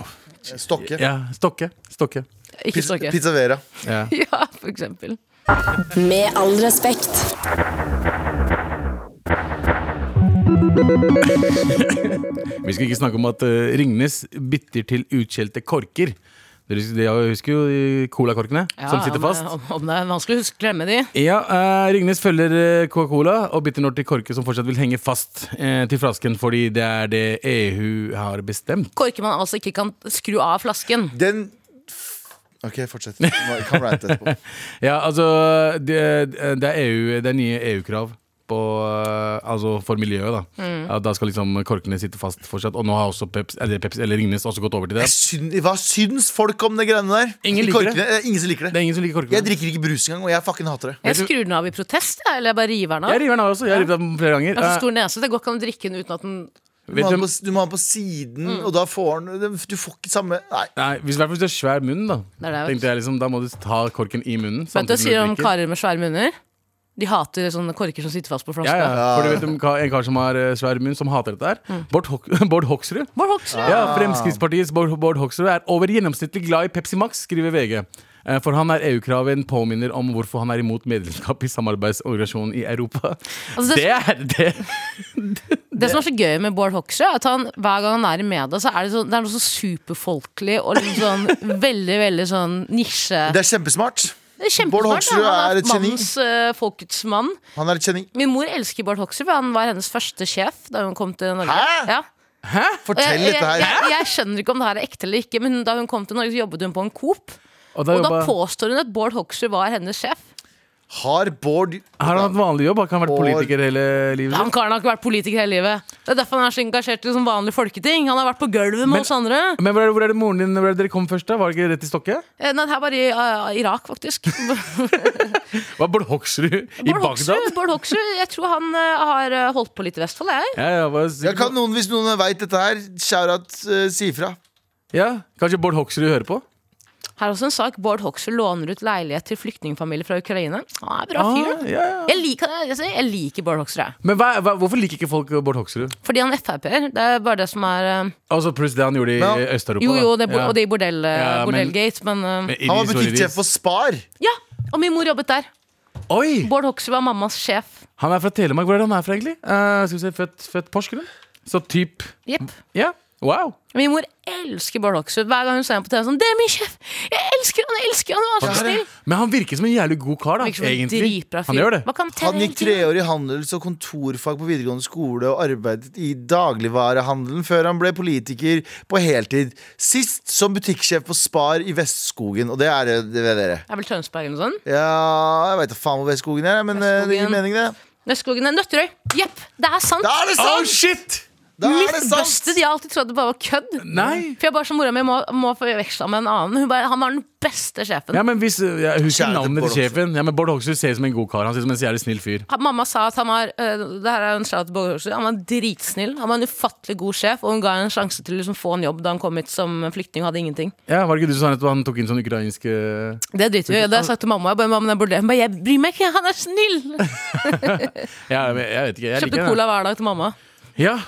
Speaker 4: Stokke.
Speaker 3: Ja, Stokke. Stokke.
Speaker 2: Ikke
Speaker 4: Pizza,
Speaker 2: stokke.
Speaker 4: Pizza Vera.
Speaker 3: Ja.
Speaker 2: Ja, for eksempel.
Speaker 1: Med all respekt.
Speaker 3: Vi skal ikke snakke om at eh, Ringnes bytter til utskjelte korker. Dere husker, dere husker jo de colakorkene
Speaker 2: Ja,
Speaker 3: som sitter
Speaker 2: om det-
Speaker 3: fast?
Speaker 2: Om, om det er vanskelig å huske, glemme de.
Speaker 3: Ja, eh, Ringnes følger eh, Coca-Cola og bytter nå til korker som fortsatt vil henge fast eh, til flasken fordi det er det EU har bestemt.
Speaker 2: Korker man altså ikke kan skru av flasken.
Speaker 4: Den f- OK, fortsett. Jeg kan rante etterpå.
Speaker 3: Ja, altså Det, det er EU, det er nye EU-krav på eh, Altså for miljøet, da.
Speaker 2: Mm.
Speaker 3: Ja, da skal liksom korkene sitte fast fortsatt. Og nå har også Peps, eller, Peps, eller Ringnes også gått over til det.
Speaker 4: Jeg syn- Hva syns folk om de greiene der?
Speaker 3: Ingen liker det.
Speaker 4: Korkene- eh, Ingen som liker
Speaker 3: Det
Speaker 4: det.
Speaker 3: er ingen som liker korkene.
Speaker 4: Jeg drikker ikke brus engang, og jeg fucking hater det.
Speaker 2: Jeg skrur den av i protest, jeg, eller jeg bare river den av.
Speaker 3: Jeg river den av også. Jeg har revet den flere ganger.
Speaker 2: Jeg har så
Speaker 3: Eh,
Speaker 2: stor nese, det går ikke an å drikke den uten at den
Speaker 4: Du
Speaker 3: vet
Speaker 4: må ha
Speaker 3: du-
Speaker 4: den på, du må ha den på siden,
Speaker 2: Mm.
Speaker 4: og da får den Du får ikke samme Nei.
Speaker 3: Nei, hvis, i hvert fall hvis du har svær munn, da.
Speaker 2: Det er det, vet du.
Speaker 3: Tenkte jeg liksom, Da må du ta korken i munnen.
Speaker 2: Vet du hva
Speaker 3: samtidig
Speaker 2: jeg
Speaker 3: som
Speaker 2: sier om
Speaker 3: drikker.
Speaker 2: karer med svære munner? De hater sånne korker som sitter fast på
Speaker 3: Ja,
Speaker 2: flaska.
Speaker 3: ja. For du vet om ka- en kar som har eh, svær munn, som hater dette her.
Speaker 2: Mm.
Speaker 3: Bård, Hok Bård Hoksrud.
Speaker 2: Bård Hoksrud!
Speaker 3: Ja, Fremskrittspartiets Bård, Bård Hoksrud er over gjennomsnittlig glad i Pepsi Max, skriver VG. Eh, For han er EU-kravet en påminner om hvorfor han er imot medlemskap i samarbeidsorganisasjonen i Europa.
Speaker 2: Altså,
Speaker 3: det
Speaker 2: det-
Speaker 3: er det!
Speaker 2: Det som er så gøy med Bård Hoksrud, er at han, hver gang han er i media, så er det, sånn- det er noe så superfolkelig og litt sånn veldig, veldig sånn nisje.
Speaker 4: Det er kjempesmart.
Speaker 2: Det er
Speaker 4: Bård
Speaker 2: Kjempesmart.
Speaker 4: Hoksrud
Speaker 2: ja. Han
Speaker 4: er
Speaker 2: er
Speaker 4: et geni.
Speaker 2: mannens, eh, folkets mann.
Speaker 4: Han er et geni.
Speaker 2: Min mor elsker Bård Hoksrud, for han var hennes første sjef da hun kom til Norge.
Speaker 4: Hæ?
Speaker 2: Ja. Og
Speaker 4: Fortell
Speaker 2: Eh, jeg,
Speaker 4: dette
Speaker 2: jeg,
Speaker 4: her.
Speaker 2: jeg, jeg skjønner ikke om det her er ekte eller ikke, men da hun kom til Norge, så jobbet hun på en Coop. Og
Speaker 3: Og
Speaker 2: da
Speaker 3: jobba-
Speaker 2: påstår hun at Bård Hoksrud var hennes sjef.
Speaker 4: Har Bård
Speaker 3: har han hatt vanlig jobb? Har ikke han vært
Speaker 4: Bård-
Speaker 3: politiker hele livet?
Speaker 2: Han karen har ikke vært politiker hele livet. Det er derfor han er så engasjert i liksom vanlige folketing. Han har vært på gulvet med
Speaker 3: Men-
Speaker 2: oss andre.
Speaker 3: Men hvor er, det, hvor er det moren din hvor er det dere kom først? da? Var det ikke rett i Stokke?
Speaker 2: Eh, Nei, det her var i eh, Irak, faktisk.
Speaker 3: Var Bård Hoksrud i
Speaker 2: Bård
Speaker 3: Bagdad?
Speaker 2: Hoksrud, Bård Hoksrud, jeg tror han eh, har eh, holdt på litt i Vestfold, jeg.
Speaker 3: Ja, ja, hva-
Speaker 4: ja, kan noen, Hvis noen veit dette her, shout-out, eh, si ifra.
Speaker 3: ja, Kanskje Bård Hoksrud hører på?
Speaker 2: Her er også en sak. Bård Hoksrud låner ut leilighet til flyktningfamilier fra Ukraina. Han er en bra
Speaker 3: Ah,
Speaker 2: fyr, da.
Speaker 3: ja, ja.
Speaker 2: Jeg liker, jeg, sier, jeg liker Bård Hoksrud. jeg.
Speaker 3: Men hva, hva, hvorfor liker ikke folk Bård Hoksrud?
Speaker 2: Fordi han er Frp-er. Det er bare det som er eh,
Speaker 3: Altså Pluss det han gjorde i
Speaker 4: Ja.
Speaker 3: Øst-Europa.
Speaker 2: Jo, jo,
Speaker 3: da.
Speaker 2: det er, bo-
Speaker 3: Ja.
Speaker 2: og det er bordell, eh,
Speaker 3: Ja, men-
Speaker 2: bordellgate, men, eh,
Speaker 3: Men
Speaker 4: Han var
Speaker 3: Iris og Iris.
Speaker 4: butikksjef på Spar.
Speaker 2: Ja! Og min mor jobbet der.
Speaker 3: Oi!
Speaker 2: Bård Hoksrud var mammas sjef.
Speaker 3: Han er fra Telemark. Hvor er det han er fra, egentlig? Eh, skal vi se, Født, født Porsgrunn? Så typ
Speaker 2: Jepp.
Speaker 3: Ja. Wow.
Speaker 2: Min mor elsker Bård Hoksrud. Hver gang hun ser ham på TV, sånn 'Det er min sjef! Jeg elsker han, jeg elsker han!' Han var så
Speaker 4: Ja, det er
Speaker 2: snill.
Speaker 3: Men han virker som en jævlig god kar, da.
Speaker 2: Virker som en
Speaker 3: Egentlig.
Speaker 2: dritbra fyr.
Speaker 3: Han gjør det.
Speaker 2: Hva kan han
Speaker 4: Han
Speaker 2: telle
Speaker 4: gikk
Speaker 2: hele tiden?
Speaker 4: treårig handels- og kontorfag på videregående skole og arbeidet i dagligvarehandelen før han ble politiker på heltid. Sist som butikksjef på Spar i Vestskogen, og det er det, det vet dere.
Speaker 2: Det er vel Tønsberg eller noe sånt.
Speaker 4: Ja, jeg veit da faen hvor Vestskogen er, men eh, det gir
Speaker 2: Vestskogen.
Speaker 4: mening, det.
Speaker 2: Nøstskogen er Nøtterøy. Jepp, det er sant.
Speaker 4: Da er det
Speaker 3: Oh,
Speaker 4: sant!
Speaker 3: shit!
Speaker 4: Da er det sant!
Speaker 2: Mythbusted. Jeg har alltid trodd det bare var kødd.
Speaker 3: Nei.
Speaker 2: For jeg bare som mora mi må, må forveksle ham med en annen. Hun bare, han var den beste sjefen.
Speaker 3: Ja, men hvis, eh, jeg husker
Speaker 4: Kjære til
Speaker 3: navnet
Speaker 4: Bård
Speaker 3: til sjefen. Ja, men Bård Hoksrud ser ut som en god kar. Han ser ut som en jævlig snill fyr.
Speaker 2: Han- Mamma sa at han var øh, det her er jo en shout til Bård Hoksrud, Han var dritsnill. Han var en ufattelig god sjef, og hun ga henne en sjanse til å liksom få en jobb da han kom hit som flyktning og hadde ingenting.
Speaker 3: Ja, Var det ikke du som sa at han tok inn sånn ukrainsk eh,
Speaker 2: Det driter vi i. Det har jeg sagt til mamma. Jeg bare, mamma, det er bordell. Hun bare, jeg bryr meg ikke, han er snill!
Speaker 3: Ja, jeg, jeg vet ikke. Jeg
Speaker 2: Kjøpte
Speaker 3: liker den.
Speaker 2: cola hver dag til mamma.
Speaker 3: Ja,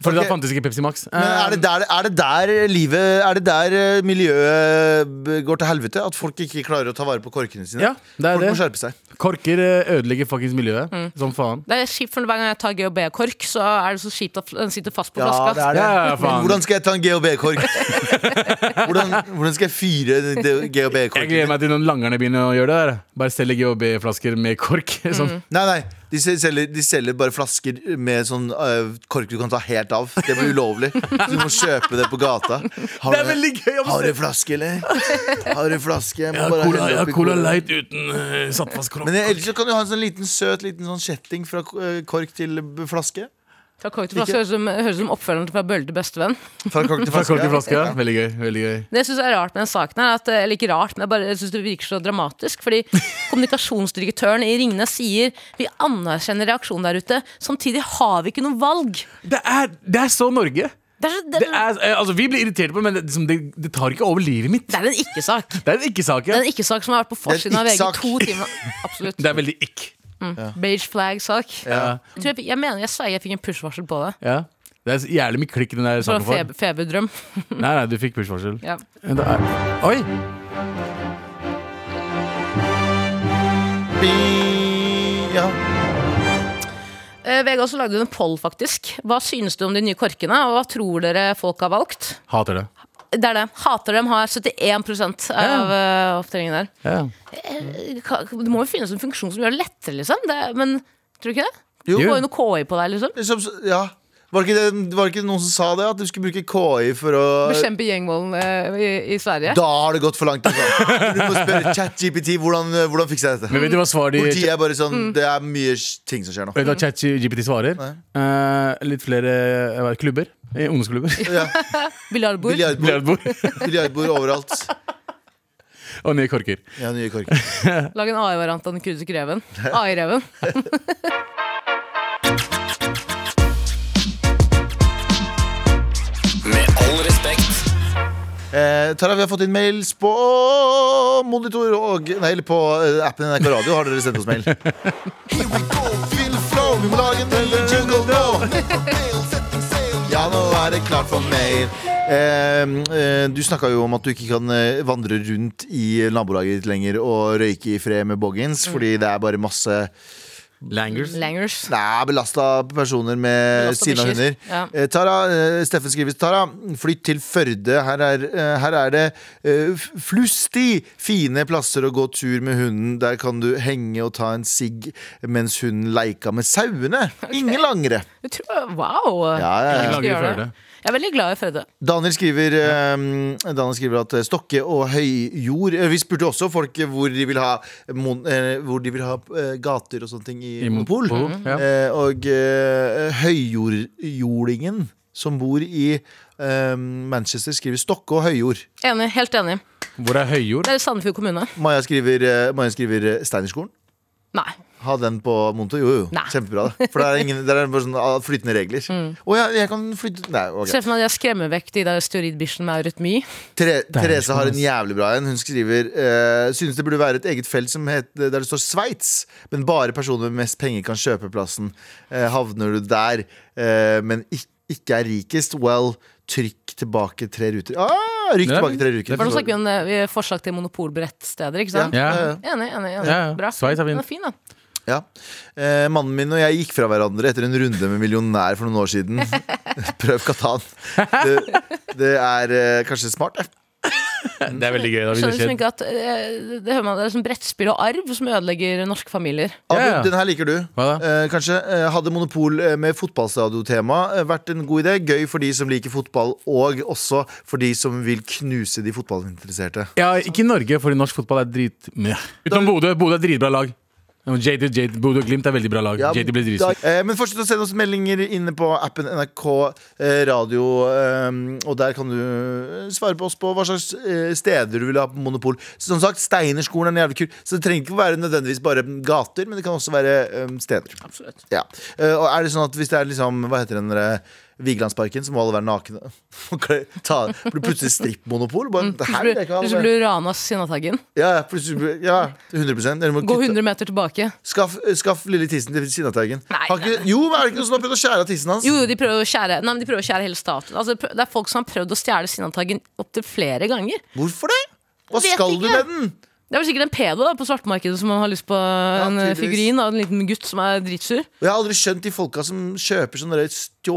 Speaker 3: for da
Speaker 4: Ok.
Speaker 3: fantes ikke Pepsi Max.
Speaker 4: Men er det, der, er det der livet Er det der eh, miljøet b- går til helvete? At folk ikke klarer å ta vare på korkene sine?
Speaker 3: Ja, det er
Speaker 4: folk
Speaker 3: det.
Speaker 4: må skjerpe seg.
Speaker 3: Korker eh, ødelegger fuckings miljøet.
Speaker 2: Mm.
Speaker 3: Som faen.
Speaker 2: Det er kjipt, for hver gang jeg tar GHB-kork, så er det så kjipt at den sitter fast på
Speaker 4: Ja,
Speaker 2: flaska.
Speaker 4: det er det.
Speaker 3: Ja, ja, faen.
Speaker 4: Men Hvordan skal jeg ta en GHB-kork? Hvordan, hvordan skal jeg fyre
Speaker 3: Jeg gleder
Speaker 4: GHB-korken?
Speaker 2: Mm.
Speaker 3: meg til når langerne begynner å gjøre det der. Bare selge GHB-flasker med kork. Sånn.
Speaker 4: Nei, nei. De sel- selger, de selger bare flasker med sånn øh, kork du kan ta helt av. Det blir ulovlig. Så du må kjøpe det på gata. Har
Speaker 3: Det er veldig gøy å se.
Speaker 4: Har du flaske, eller? Har du flaske? Jeg må bare helle oppi cola.
Speaker 3: Light uten eh, satt fast kork.
Speaker 4: Men ellers så kan du ha en sånn liten søt liten sånn kjetting fra øh, kork til b- flaske.
Speaker 2: Fra Kork til flaske høres ut som, høres ut som oppfølgeren fra Bølle til bestevenn.
Speaker 4: Fra kork til
Speaker 3: Fra kork til flaske.
Speaker 4: ja.
Speaker 3: ja. Veldig gøy. veldig gøy
Speaker 2: Det jeg synes er rart med den saken her, at, eller ikke rart, men jeg, bare, jeg synes det virker så dramatisk. Fordi kommunikasjonsdirektøren i Ringnes sier vi anerkjenner reaksjonen der ute, samtidig har vi ikke noe valg.
Speaker 3: Det er, det er så Norge.
Speaker 2: Det er, så-
Speaker 3: Det
Speaker 2: det,
Speaker 3: er, eh, altså, vi blir irriterte på det, men det, liksom, det, det tar ikke over livet mitt.
Speaker 2: det er en ikke-sak.
Speaker 3: Det er en ikke-sak.
Speaker 2: Det
Speaker 3: Ja.
Speaker 2: er en ikke-sak som har vært på forsiden av VG i
Speaker 4: ikke-sak.
Speaker 2: to timer. Absolutt.
Speaker 3: Det er veldig ikk.
Speaker 2: Beige flag-sak.
Speaker 4: Ja.
Speaker 2: Jeg, tror jeg, fikk- jeg mener jeg sverger jeg fikk en push-varsel på det.
Speaker 3: Ja. Det er så jævlig mye klikk i den der
Speaker 2: Så det
Speaker 3: saken
Speaker 2: var
Speaker 3: for.
Speaker 2: en feb feberdrøm.
Speaker 3: Nei, nei, du fikk push-varsel.
Speaker 2: Ja.
Speaker 3: Det er- Oi!
Speaker 4: Bi- ja.
Speaker 2: Eh, VG også lagde en poll, faktisk. Hva synes du om de nye korkene, og hva tror dere folk har valgt?
Speaker 3: Hater det.
Speaker 2: Det er det. Hater dem har 71 av eh, opptellingen der.
Speaker 3: Ja.
Speaker 2: Eh, Ka- Det må jo finnes en funksjon som gjør det lettere, liksom. Det, men tror du ikke det?
Speaker 4: Jo.
Speaker 2: Det går jo noe KI på deg, liksom.
Speaker 4: Liksom, så- ja. Var det, ikke det, var det ikke noen som sa det? At du skulle bruke KI for å
Speaker 2: Bekjempe gjengvolden eh, i, i Sverige.
Speaker 4: Da har det gått for langt. Altså. Du må spørre ChatGPT hvordan, hvordan fikser jeg dette.
Speaker 3: Men vet du hva svar de
Speaker 4: Politiet er bare sånn Det er mye ting som skjer nå.
Speaker 3: Vet du hva ChatGPT svarer? Eh, litt flere eh, hva er det, klubber. Eh, Ungdomsklubber.
Speaker 4: Ja.
Speaker 2: Biljardbord.
Speaker 4: Biljardbord
Speaker 3: Biljardbord
Speaker 4: biljardbord overalt.
Speaker 3: og nye korker.
Speaker 4: Ja, nye kork.
Speaker 2: Lag en AI-variant av den kurdiske reven. AI-reven.
Speaker 5: Med all respekt.
Speaker 4: Eh, Tara, vi har fått inn mails på monitor og Nei, eller på eh, appen NRK Radio har dere sendt oss mail. Here we go, feel the flow, vi må lage en ny jingle nå. Ja, nå er det klart for mail. Eh, eh, du snakka jo om at du ikke kan eh, vandre rundt i nabolaget ditt lenger og røyke i fred med boggins, fordi det er bare masse
Speaker 3: Langers.
Speaker 2: Langers.
Speaker 4: Det er belasta personer med
Speaker 2: Belastet
Speaker 4: sine
Speaker 2: bikkjer,
Speaker 4: hunder.
Speaker 2: ja.
Speaker 4: Eh, Tara, eh, Steffen skriver Tara, flytt til Førde. Her er, eh, her er det eh, f- flusti fine plasser å gå tur med hunden. Der kan du henge og ta en sigg mens hunden leika med sauene. Ingen langere.
Speaker 2: Jeg tror, wow!
Speaker 4: Ja, ja, ja.
Speaker 2: Jeg,
Speaker 3: Lager i
Speaker 2: skal gjøre
Speaker 3: Førde.
Speaker 2: det. jeg er veldig glad i Førde.
Speaker 4: Daniel skriver, eh, Daniel skriver at Stokke og Høyjord eh, Vi spurte også folk hvor de vil ha, mon, eh, hvor de vil ha eh, gater og sånne ting i,
Speaker 3: I
Speaker 4: Monopol.
Speaker 3: Monopol, Mhm. ja.
Speaker 4: Eh, og eh, Høyjordjordingen som bor i eh, Manchester, skriver Stokke og Høyjord.
Speaker 2: Enig, helt enig.
Speaker 3: Hvor er høyjord?
Speaker 2: Det er Sandefjord kommune.
Speaker 4: Maja skriver, eh, Maja skriver eh, Steinerskolen.
Speaker 2: Nei.
Speaker 4: Ha den på Monto. Jo, jo.
Speaker 2: Nei.
Speaker 4: Kjempebra. det. For der er, ingen, der er det bare sånn ah, flytende regler. Å ja, jeg kan flytte Nei, ok.
Speaker 2: Se for meg at jeg skremmer vekk de der steoridbikkjene med eurytmi.
Speaker 4: Tere, Therese
Speaker 3: sjukt,
Speaker 4: har en
Speaker 3: ass.
Speaker 4: jævlig bra en. Hun skriver uh, synes det burde være et eget felt som het, der det står Sveits, men bare personer med mest penger kan kjøpe plassen. Eh, havner du der, eh, men ik ikke er rikest, well, trykk tilbake tre ruter. Ah, rykk
Speaker 3: Ja,
Speaker 4: tilbake tre
Speaker 3: det
Speaker 4: ruter.
Speaker 2: For Nå snakker vi om eh, vi har forslag til monopolbrettsteder, ikke sant?
Speaker 3: Ja.
Speaker 4: Ja.
Speaker 2: Enig, enig. enig.
Speaker 3: Ja, ja.
Speaker 2: Bra.
Speaker 3: Sveits er fin.
Speaker 2: Den er fin, da.
Speaker 4: Ja. Eh, mannen min og jeg gikk fra hverandre etter en runde med millionær for noen år siden. Prøv Katan. Det, det er eh, kanskje smart, det.
Speaker 3: Det er veldig gøy. Da, hvis
Speaker 2: Skjønner
Speaker 3: det
Speaker 2: liksom
Speaker 3: skjer.
Speaker 2: ikke at eh, Det hører man, det er sånn brettspill og arv som ødelegger norske familier.
Speaker 4: Abu,
Speaker 3: Ja, ja.
Speaker 4: den her liker du.
Speaker 3: Hva da?
Speaker 4: Eh, kanskje eh, Hadde Monopol eh, med fotballstadiotema eh, vært en god idé? Gøy for de som liker fotball, og også for de som vil knuse de fotballinteresserte.
Speaker 3: Ja, ikke i Norge, fordi norsk fotball er drit... Meh. Utenom Bodø. Bodø er dritbra lag. JD, JD, Bodø og Glimt er veldig bra lag.
Speaker 4: Ja,
Speaker 3: JD ble
Speaker 4: da-
Speaker 3: dritsur.
Speaker 4: eh, men fortsett å sende oss meldinger inne på appen NRK eh, Radio. eh, og der kan du eh, svare på oss på hva slags eh, steder du vil ha på Monopol. Så, som sagt, Steinerskolen er en jævlig kul, så det trenger ikke være nødvendigvis bare gater, men det kan også være eh, steder.
Speaker 2: Absolutt.
Speaker 4: Ja. Eh, og er det sånn at hvis det er liksom Hva heter den derre Vigelandsparken, så må alle være nakne. Og kle- Ta, blir plutselig strippmonopol. Bare, det her vil jeg ikke
Speaker 2: Mm. Plutselig
Speaker 4: ha.
Speaker 2: blir du rana av sinnataggen.
Speaker 4: Ja, plutselig blir- ja, 100 Dere må
Speaker 2: Gå
Speaker 4: kutte-
Speaker 2: 100 meter tilbake.
Speaker 4: Skaff, eh, skaff lille tissen til Sinnataugen.
Speaker 2: Nei,
Speaker 4: Har ikke- Jo, men er det ikke noen som har prøvd å skjære av tissen hans?
Speaker 2: Jo, jo, de prøver å skjære Nei, men de prøver å skjære hele staten. Altså, det prø- det er folk som har prøvd å stjele sinnataggen opptil flere ganger.
Speaker 4: Hvorfor det? Hva
Speaker 2: Vet
Speaker 4: skal du
Speaker 2: ikke.
Speaker 4: med den?
Speaker 2: Det er vel sikkert en pedo da, på svartmarkedet som har lyst på en eh,
Speaker 4: tydeligvis.
Speaker 2: figurin av en liten gutt som er dritsur.
Speaker 4: Og jeg har aldri skjønt de folka som kjøper sånne der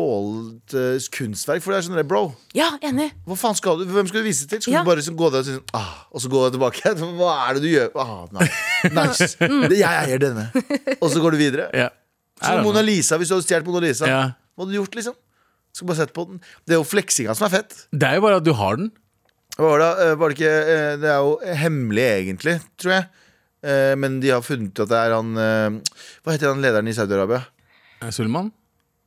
Speaker 4: stjålet eh, kunstverk. For det er sånn der, bro,
Speaker 2: Ja, enig.
Speaker 4: hva faen skal du, hvem skal du vise til? Skal
Speaker 2: Ja.
Speaker 4: du bare liksom gå der og si sånn, ah, og så gå tilbake?
Speaker 2: Mm.
Speaker 4: igjen? Hva er det du gjør? Ah, nei. Nice. Det, jeg eier denne. Og så går du videre.
Speaker 3: Ja. Er
Speaker 4: Som
Speaker 3: det
Speaker 4: Mona
Speaker 3: noe?
Speaker 4: Lisa, hvis du hadde stjålet Mona Lisa.
Speaker 3: Ja.
Speaker 4: Hva hadde du gjort, liksom? Skulle bare sett på den. Det er jo fleksinga som er fett.
Speaker 3: Det er jo bare at du har den.
Speaker 4: Hva var det, eh, var det, ikke, eh, det er jo hemmelig, egentlig, tror jeg. Eh, Men de har funnet ut at det er han eh, Hva heter han lederen i Saudi-Arabia?
Speaker 3: Eh, Sulman.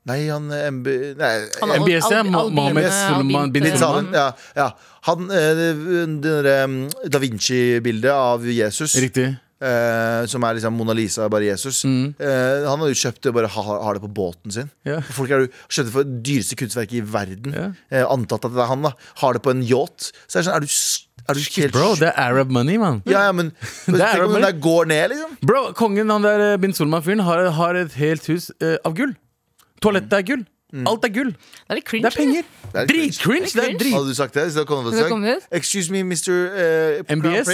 Speaker 4: Nei, han eh, MB... Nei,
Speaker 2: Han er al- al-
Speaker 3: MBSC,
Speaker 2: eh,
Speaker 3: Mo-
Speaker 2: albine-
Speaker 3: Mohammed
Speaker 2: albint-
Speaker 3: Sulman bin
Speaker 4: Bin Salman.
Speaker 3: Salman.
Speaker 4: Ja, ja. Han, eh, det det der, eh, Da Vinci-bildet av Jesus,
Speaker 3: Riktig. Mm.
Speaker 4: eh, som er liksom Mona Lisa, bare Jesus, eh, han hadde jo kjøpt det og bare ha- har det på båten sin.
Speaker 3: Ja.
Speaker 4: Folk er jo skjønte for det dyreste kunstverket i verden.
Speaker 3: Ja.
Speaker 4: Eh, antatt at det er han, da. Har det på en yacht. Så er det sånn, er du, s- er du helt
Speaker 3: Bro, det er Arab money, mann.
Speaker 4: Ja, ja, men
Speaker 3: Det er
Speaker 4: Tenk om
Speaker 3: jo
Speaker 4: den
Speaker 3: bare-
Speaker 4: der går ned, liksom.
Speaker 3: Bro, kongen han der eh, bin Sulman-fyren har, har et helt hus eh, av gull. Toalettet er gull. Alt er gull.
Speaker 2: Det er litt cringe.
Speaker 3: Det er penger.
Speaker 4: Mm. er
Speaker 3: Dritcringe! Det er drit.
Speaker 4: Hadde du sagt det? hvis det hadde kommet
Speaker 2: Hvis det
Speaker 4: opp og
Speaker 2: hadde
Speaker 4: sagt, Excuse me, Mr. Uh,
Speaker 3: MBS?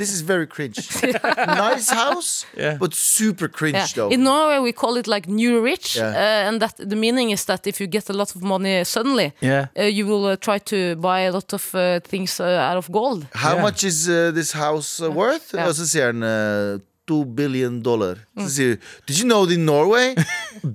Speaker 4: This is very cringe. Nice house,
Speaker 3: Yeah.
Speaker 4: but super cringe,
Speaker 2: Yeah.
Speaker 4: though.
Speaker 2: In Norway we call it like new rich,
Speaker 4: Yeah.
Speaker 2: uh, and that the meaning is that if you get a lot of money suddenly,
Speaker 3: Yeah.
Speaker 2: uh, you will uh, try to buy a lot of uh, things uh, out of gold.
Speaker 4: How
Speaker 3: Yeah.
Speaker 4: much is uh, this house uh, worth?
Speaker 2: Ja.
Speaker 4: Og så sier han uh, Two billion dollar. Så sier du Did you know that in Norway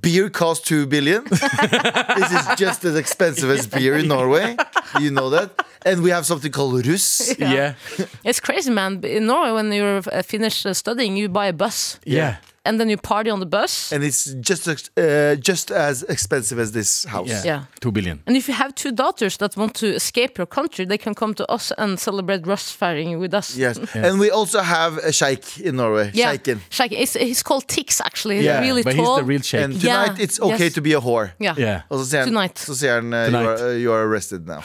Speaker 4: beer costs two billion? This is just as expensive as beer in Norway. Do you know that? And we have something called russ.
Speaker 3: Yeah.
Speaker 2: It's crazy, man. But In Norway, when you're uh, finished uh, studying, you buy a bus,
Speaker 3: Yeah.
Speaker 2: and then you party on the bus.
Speaker 4: And it's just, ex- uh, just as expensive as this house.
Speaker 3: yeah.
Speaker 2: Yeah.
Speaker 3: To billion.
Speaker 2: And if you have two daughters that want to escape your country, they can come to us and celebrate Ross firing with us.
Speaker 4: Yes. And we also have a sheikh in Norway.
Speaker 2: Yeah.
Speaker 4: Sheiken.
Speaker 2: Sheiken. It's, he's called Tix, actually. He's
Speaker 3: Yeah,
Speaker 2: really
Speaker 3: but
Speaker 2: tall.
Speaker 3: he's the real shape.
Speaker 4: And tonight
Speaker 2: Yeah.
Speaker 4: it's okay
Speaker 2: Yes.
Speaker 4: to be a whore.
Speaker 2: yeah.
Speaker 3: yeah.
Speaker 4: Og så sier han,
Speaker 2: Tonight.
Speaker 4: så sier han uh, you,
Speaker 3: Tonight.
Speaker 4: are, you are arrested now.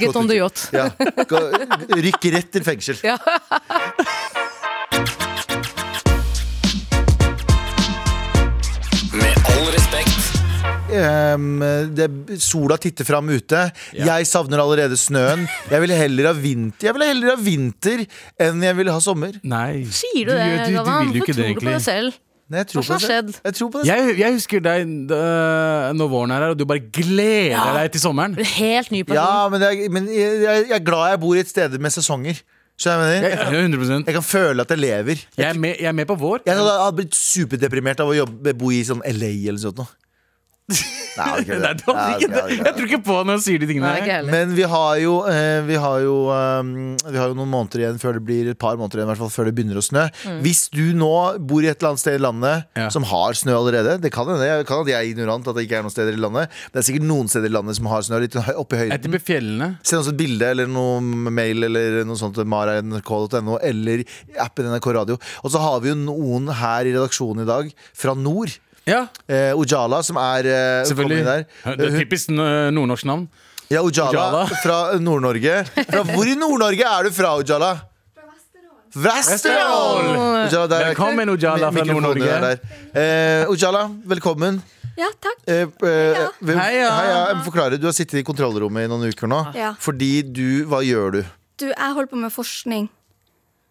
Speaker 2: Get on the yacht.
Speaker 4: Ja. Gå, rykk rett til fengsel.
Speaker 2: Ja.
Speaker 5: Med all respekt.
Speaker 4: Ehm, det, sola titter fram ute. Jeg savner allerede snøen. Jeg ville heller ha vinter Jeg ville heller ha vinter enn jeg ville ha sommer.
Speaker 3: Nei.
Speaker 2: Sier du,
Speaker 3: gjør-
Speaker 2: det,
Speaker 3: du, du
Speaker 2: Galvan?
Speaker 3: vil
Speaker 2: Hvorfor
Speaker 3: jo ikke det,
Speaker 2: tror du på
Speaker 3: egentlig.
Speaker 2: det selv?
Speaker 4: Nei, jeg tror
Speaker 2: Hva
Speaker 4: på
Speaker 2: har
Speaker 4: det. selv.
Speaker 2: skjedd?
Speaker 4: Jeg tror på det. selv.
Speaker 3: Jeg, jeg husker deg øh, når våren er her, og du bare gleder deg til sommeren.
Speaker 2: Du er helt ny person.
Speaker 4: Ja, men, det er, men jeg, jeg jeg er glad jeg bor et sted med sesonger. Skjønner du hva jeg
Speaker 3: Jeg,
Speaker 4: mener?
Speaker 3: jeg, 100
Speaker 4: Jeg kan føle at jeg lever.
Speaker 3: jeg er, med, jeg er med på vår.
Speaker 4: Jeg hadde hadde blitt superdeprimert av å jobbe, bo i sånn LA eller sånt noe. Nei, jeg hadde ikke det.
Speaker 3: Nei, det var
Speaker 4: Nei, jeg
Speaker 3: ikke det.
Speaker 4: hadde ikke det.
Speaker 3: Jeg tror ikke på når han sier de tingene.
Speaker 2: Nei, ikke
Speaker 3: her.
Speaker 2: heller.
Speaker 4: Men vi har, jo, eh, vi, har jo, eh, vi har jo noen måneder igjen før det blir et par måneder igjen, i hvert fall før det begynner å snø. Hvis du nå bor i et eller annet sted i landet
Speaker 3: Ja.
Speaker 4: som har snø allerede Det kan hende det kan at jeg er ignorant, at det ikke er noen steder i landet. Det er sikkert noen steder i landet som har snø litt hø- oppe i
Speaker 3: Jeg
Speaker 4: høyden.
Speaker 3: tipper fjellene.
Speaker 4: Send oss et bilde eller noe mail eller noe sånt til mara.nrk.no eller appen NRK Radio. Og så har vi jo noen her i redaksjonen i dag fra nord.
Speaker 3: Ja,
Speaker 4: Eh, Ojala, som er eh,
Speaker 3: selvfølgelig.
Speaker 4: kom inn
Speaker 3: Ja,
Speaker 4: Der.
Speaker 3: Det er typisk øh, nordnorsk navn.
Speaker 4: Ja, Ojala,
Speaker 3: Ojala.
Speaker 4: fra Nord-Norge. Fra- Hvor i Nord-Norge er du fra, Ojala? Fra Vesterålen.
Speaker 3: Vesterålen!
Speaker 4: Ojala, der-
Speaker 3: Velkommen, Ojala fra
Speaker 4: Mikrofonen
Speaker 3: Nord-Norge.
Speaker 4: er der. Eh, Ojala, velkommen.
Speaker 6: Ja, takk.
Speaker 4: Eh, eh, vil-
Speaker 3: Heia.
Speaker 4: Heia. Jeg må forklare. Du har sittet i kontrollrommet i noen uker nå.
Speaker 6: Ja.
Speaker 4: Fordi du Hva gjør du?
Speaker 6: Du, jeg holder på med forskning.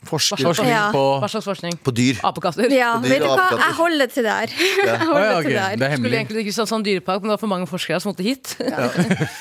Speaker 4: Forsker
Speaker 3: Forskning
Speaker 6: Ja.
Speaker 3: på
Speaker 2: Hva slags forskning?
Speaker 4: på dyr.
Speaker 2: Apekatter?
Speaker 6: Ja,
Speaker 4: Og dyr
Speaker 6: vet du
Speaker 4: og
Speaker 6: hva?
Speaker 4: apekatter.
Speaker 6: Jeg holder til der. Jeg
Speaker 3: Å, ja,
Speaker 6: holder
Speaker 3: ok,
Speaker 6: til
Speaker 3: Det
Speaker 6: der.
Speaker 3: er
Speaker 2: Skulle
Speaker 3: hemmelig.
Speaker 2: egentlig ikke sånn, sånn dyrepark, men det var for mange forskere som måtte hit.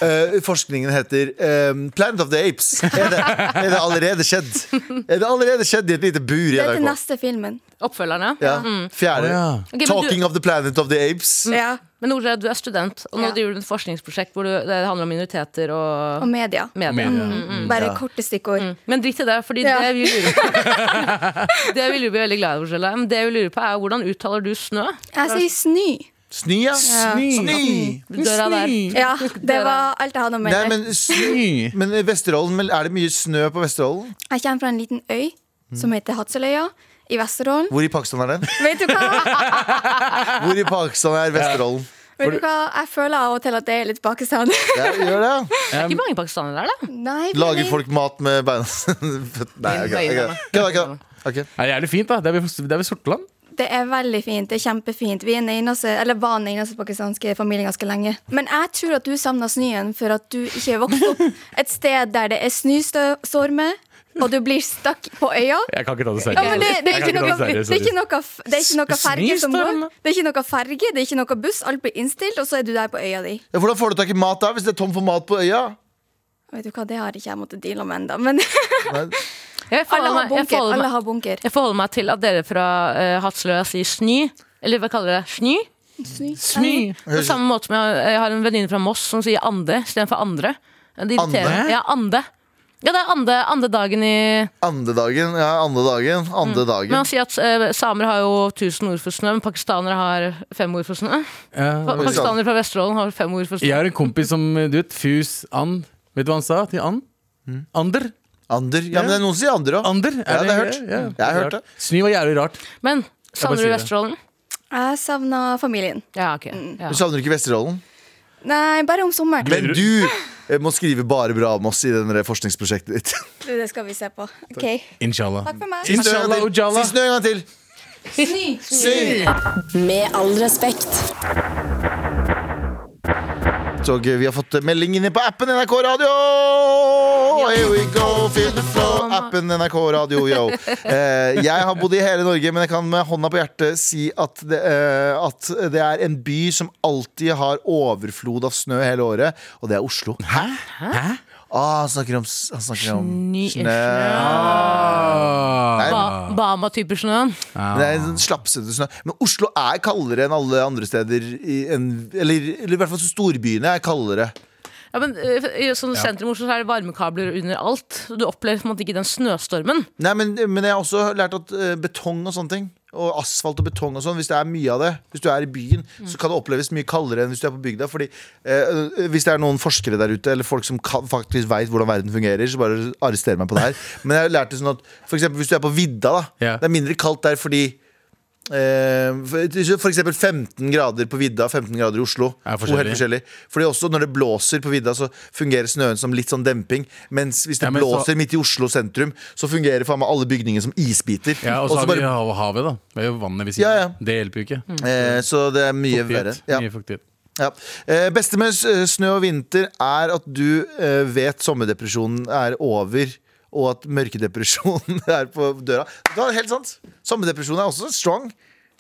Speaker 4: Eh, forskningen heter eh, Planet of the Apes. Er det, er det allerede skjedd? Er det allerede skjedd i et lite bur i
Speaker 6: Det er til
Speaker 4: NRK?
Speaker 6: neste filmen.
Speaker 2: Oppfølgerne. Mm.
Speaker 4: Ja. Fjerde.
Speaker 3: Å, ja.
Speaker 2: Ok, men du-
Speaker 4: Talking of the Planet of the Apes.
Speaker 6: Ja,
Speaker 2: Men Nora, du er student, og nå
Speaker 6: Ja.
Speaker 2: driver du et forskningsprosjekt hvor du, det handler om minoriteter og
Speaker 6: Og media.
Speaker 2: medier.
Speaker 3: Media.
Speaker 6: Bare korte stikkord.
Speaker 2: Men drit i det, fordi
Speaker 6: Ja.
Speaker 2: det vi lurer på Det vi lurer på, er veldig glad i oss, Ella, men det vi lurer på er hvordan uttaler du snø?
Speaker 6: Jeg sier snø.
Speaker 4: Snø, ja. Snø.
Speaker 2: Døra der.
Speaker 6: Ja, det var alt jeg hadde å
Speaker 4: Nei,
Speaker 6: melde.
Speaker 4: men, snø. men i Vesterålen, men er det mye snø på Vesterålen?
Speaker 6: Jeg kommer fra en liten øy som heter Hadseløya i Vesterålen.
Speaker 4: Hvor i Pakistan er den?
Speaker 6: Vet du hva?
Speaker 4: Hvor i Pakistan er Vesterålen?
Speaker 6: Vet du hva? Jeg føler av og til at det er litt Pakistan.
Speaker 4: Ja, gjør det, ja.
Speaker 2: Det er ikke mange pakistanere der, da.
Speaker 6: Nei,
Speaker 4: Lager
Speaker 6: men-
Speaker 4: folk mat med beina Nei, ok. ok. Kødda, kødda. Ok.
Speaker 3: Det er jævlig fint, da. Det er ved, det er ved Sortland.
Speaker 6: Det er veldig fint. Det er kjempefint. Vi er den eneste, eller var den eneste pakistanske familien ganske lenge. Men jeg tror at du savna snøen for at du ikke er vokst opp et sted der det er snøstormer, og du blir stakk på øya.
Speaker 3: Jeg kan ikke ta det
Speaker 6: Ja, men det, det, er
Speaker 3: Jeg
Speaker 6: ikke
Speaker 3: kan
Speaker 6: noe,
Speaker 3: ikke ta
Speaker 6: det
Speaker 3: det seriøst,
Speaker 6: er ikke noe, f- det er ikke noe
Speaker 3: S-
Speaker 6: ferge som går.
Speaker 3: snøstorm?
Speaker 6: Det er ikke noe ferge, det er ikke noe buss. Alt blir innstilt, og så er du der på øya di.
Speaker 4: Ja, Hvordan får du tak i mat der hvis det er tom for mat på øya?
Speaker 6: Vet du hva, Det har ikke jeg måttet deale med ennå. Men
Speaker 4: Nei.
Speaker 2: Jeg
Speaker 6: alle
Speaker 2: forholder
Speaker 6: har
Speaker 2: meg, jeg
Speaker 6: bunker.
Speaker 2: forholder
Speaker 6: Alle
Speaker 2: meg,
Speaker 6: har bunker.
Speaker 2: eh, jeg forholder meg til at dere fra uh, Hatsløya sier sny, Eller hva kaller jeg det? Sny? Sny. På samme måte som jeg, jeg har en venninne fra Moss som sier ande istedenfor andre. Det irriterer-
Speaker 4: Ande?
Speaker 2: Ja, ande. Ja, det er ande, andedagen i
Speaker 4: Andedagen. Ja, andedagen. Andedagen.
Speaker 2: Mm. Men han sier at eh, samer har jo 1000 ord for snø, men pakistanere har fem ord for snø. Pa-
Speaker 3: Eh,
Speaker 2: Pakistanere fra Vesterålen har fem ord for snø.
Speaker 3: Jeg har en kompis som du vet, fus and. Vet du hva han sa til and? Ander?
Speaker 4: Ander. Ja, men det er noen som sier ander òg.
Speaker 3: Ander?
Speaker 4: Ja, det har jeg
Speaker 3: det-
Speaker 4: hørt.
Speaker 3: ja,
Speaker 4: Jeg har hørt
Speaker 3: rart.
Speaker 4: det.
Speaker 3: Sny var jævlig rart.
Speaker 2: Men savner
Speaker 3: sier
Speaker 2: du
Speaker 3: det.
Speaker 2: Vesterålen?
Speaker 6: Jeg savna familien.
Speaker 2: Ja, ok. Ja.
Speaker 4: Du savner ikke Vesterålen?
Speaker 6: Nei, bare om sommeren.
Speaker 4: Men du eh, må skrive bare bra om oss i det der forskningsprosjektet ditt.
Speaker 6: Du, Det skal vi se på. OK.
Speaker 3: Inshallah.
Speaker 6: Takk for meg.
Speaker 4: Si snø en
Speaker 3: Inshallah,
Speaker 4: gang til.
Speaker 3: Ujala.
Speaker 4: Si snø en gang til. Sny.
Speaker 1: Med all respekt.
Speaker 4: Så gøy, vi har fått melding inne på appen NRK Radio! Here we go, feel the flow, appen NRK Radio, yo. Eh, jeg har bodd i hele Norge, men jeg kan med hånda på hjertet si at det, eh, at det er en by som alltid har overflod av snø hele året, og det er Oslo. Hæ? Ah, han snakker om, s- han snakker om
Speaker 2: Ny
Speaker 4: snø.
Speaker 3: Ah.
Speaker 4: Nei,
Speaker 2: Ba Bahama-type snø.
Speaker 4: det er en sånn slapsete snø. Men Oslo er kaldere enn alle andre steder. I en, eller, eller i hvert fall storbyene er kaldere.
Speaker 2: Ja, men eh, I sånn sentrum i Oslo så er det varmekabler under alt. så Du opplever på en måte ikke den snøstormen.
Speaker 4: Nei, men, men jeg har også lært at eh, betong og sånne ting og asfalt og betong og sånn, hvis det er mye av det, hvis du er i byen, så kan det oppleves mye kaldere enn hvis du er på bygda. Fordi eh, hvis det er noen forskere der ute, eller folk som kan, faktisk veit hvordan verden fungerer, så bare arrester meg på det her. Men jeg har lært det sånn at for eksempel hvis du er på vidda, da.
Speaker 3: Ja.
Speaker 4: Det er mindre kaldt der fordi eh, for for eksempel 15 grader på vidda, 15 grader i Oslo.
Speaker 3: Er
Speaker 4: To helt
Speaker 3: forskjellig.
Speaker 4: forskjellig. Fordi også når det blåser på vidda, så fungerer snøen som litt sånn demping. Mens hvis det
Speaker 3: Ja, men så-
Speaker 4: blåser midt i Oslo sentrum, så fungerer faen meg alle bygningene som isbiter.
Speaker 3: Ja, og
Speaker 4: Og
Speaker 3: så
Speaker 4: så
Speaker 3: har vi
Speaker 4: bare-
Speaker 3: hav- havet, da. Det er jo vannet ved siden
Speaker 4: Ja, ja.
Speaker 3: av. Det hjelper jo ikke.
Speaker 4: eh, så det er mye verre.
Speaker 3: Fuktighet.
Speaker 4: Ja,
Speaker 3: Mye fuktighet.
Speaker 4: ja. Eh, beste med s- snø og vinter er at du eh, vet sommerdepresjonen er over. Og at mørkedepresjonen er på døra. Det er helt sant Sommerdepresjonen er også strong.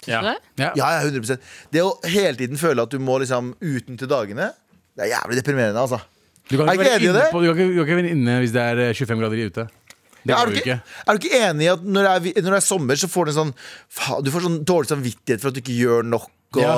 Speaker 3: Ja.
Speaker 2: det?
Speaker 3: Ja.
Speaker 4: Ja, ja, 100 Det å hele tiden føle at du må liksom uten til dagene, det er jævlig deprimerende, altså.
Speaker 3: Du kan
Speaker 4: Er
Speaker 3: ikke
Speaker 4: ikke
Speaker 3: være
Speaker 4: enig i
Speaker 3: inne,
Speaker 4: det?
Speaker 3: på, du kan ikke, du kan ikke være inne hvis det er eh, 25 grader ute. Det
Speaker 4: Ja,
Speaker 3: går
Speaker 4: er, du
Speaker 3: jo
Speaker 4: ikke,
Speaker 3: ikke.
Speaker 4: er du ikke enig i at når det er, vi- når det er sommer, så får du en sånn faen, Du får sånn dårlig samvittighet for at du ikke gjør nok. Og, ja.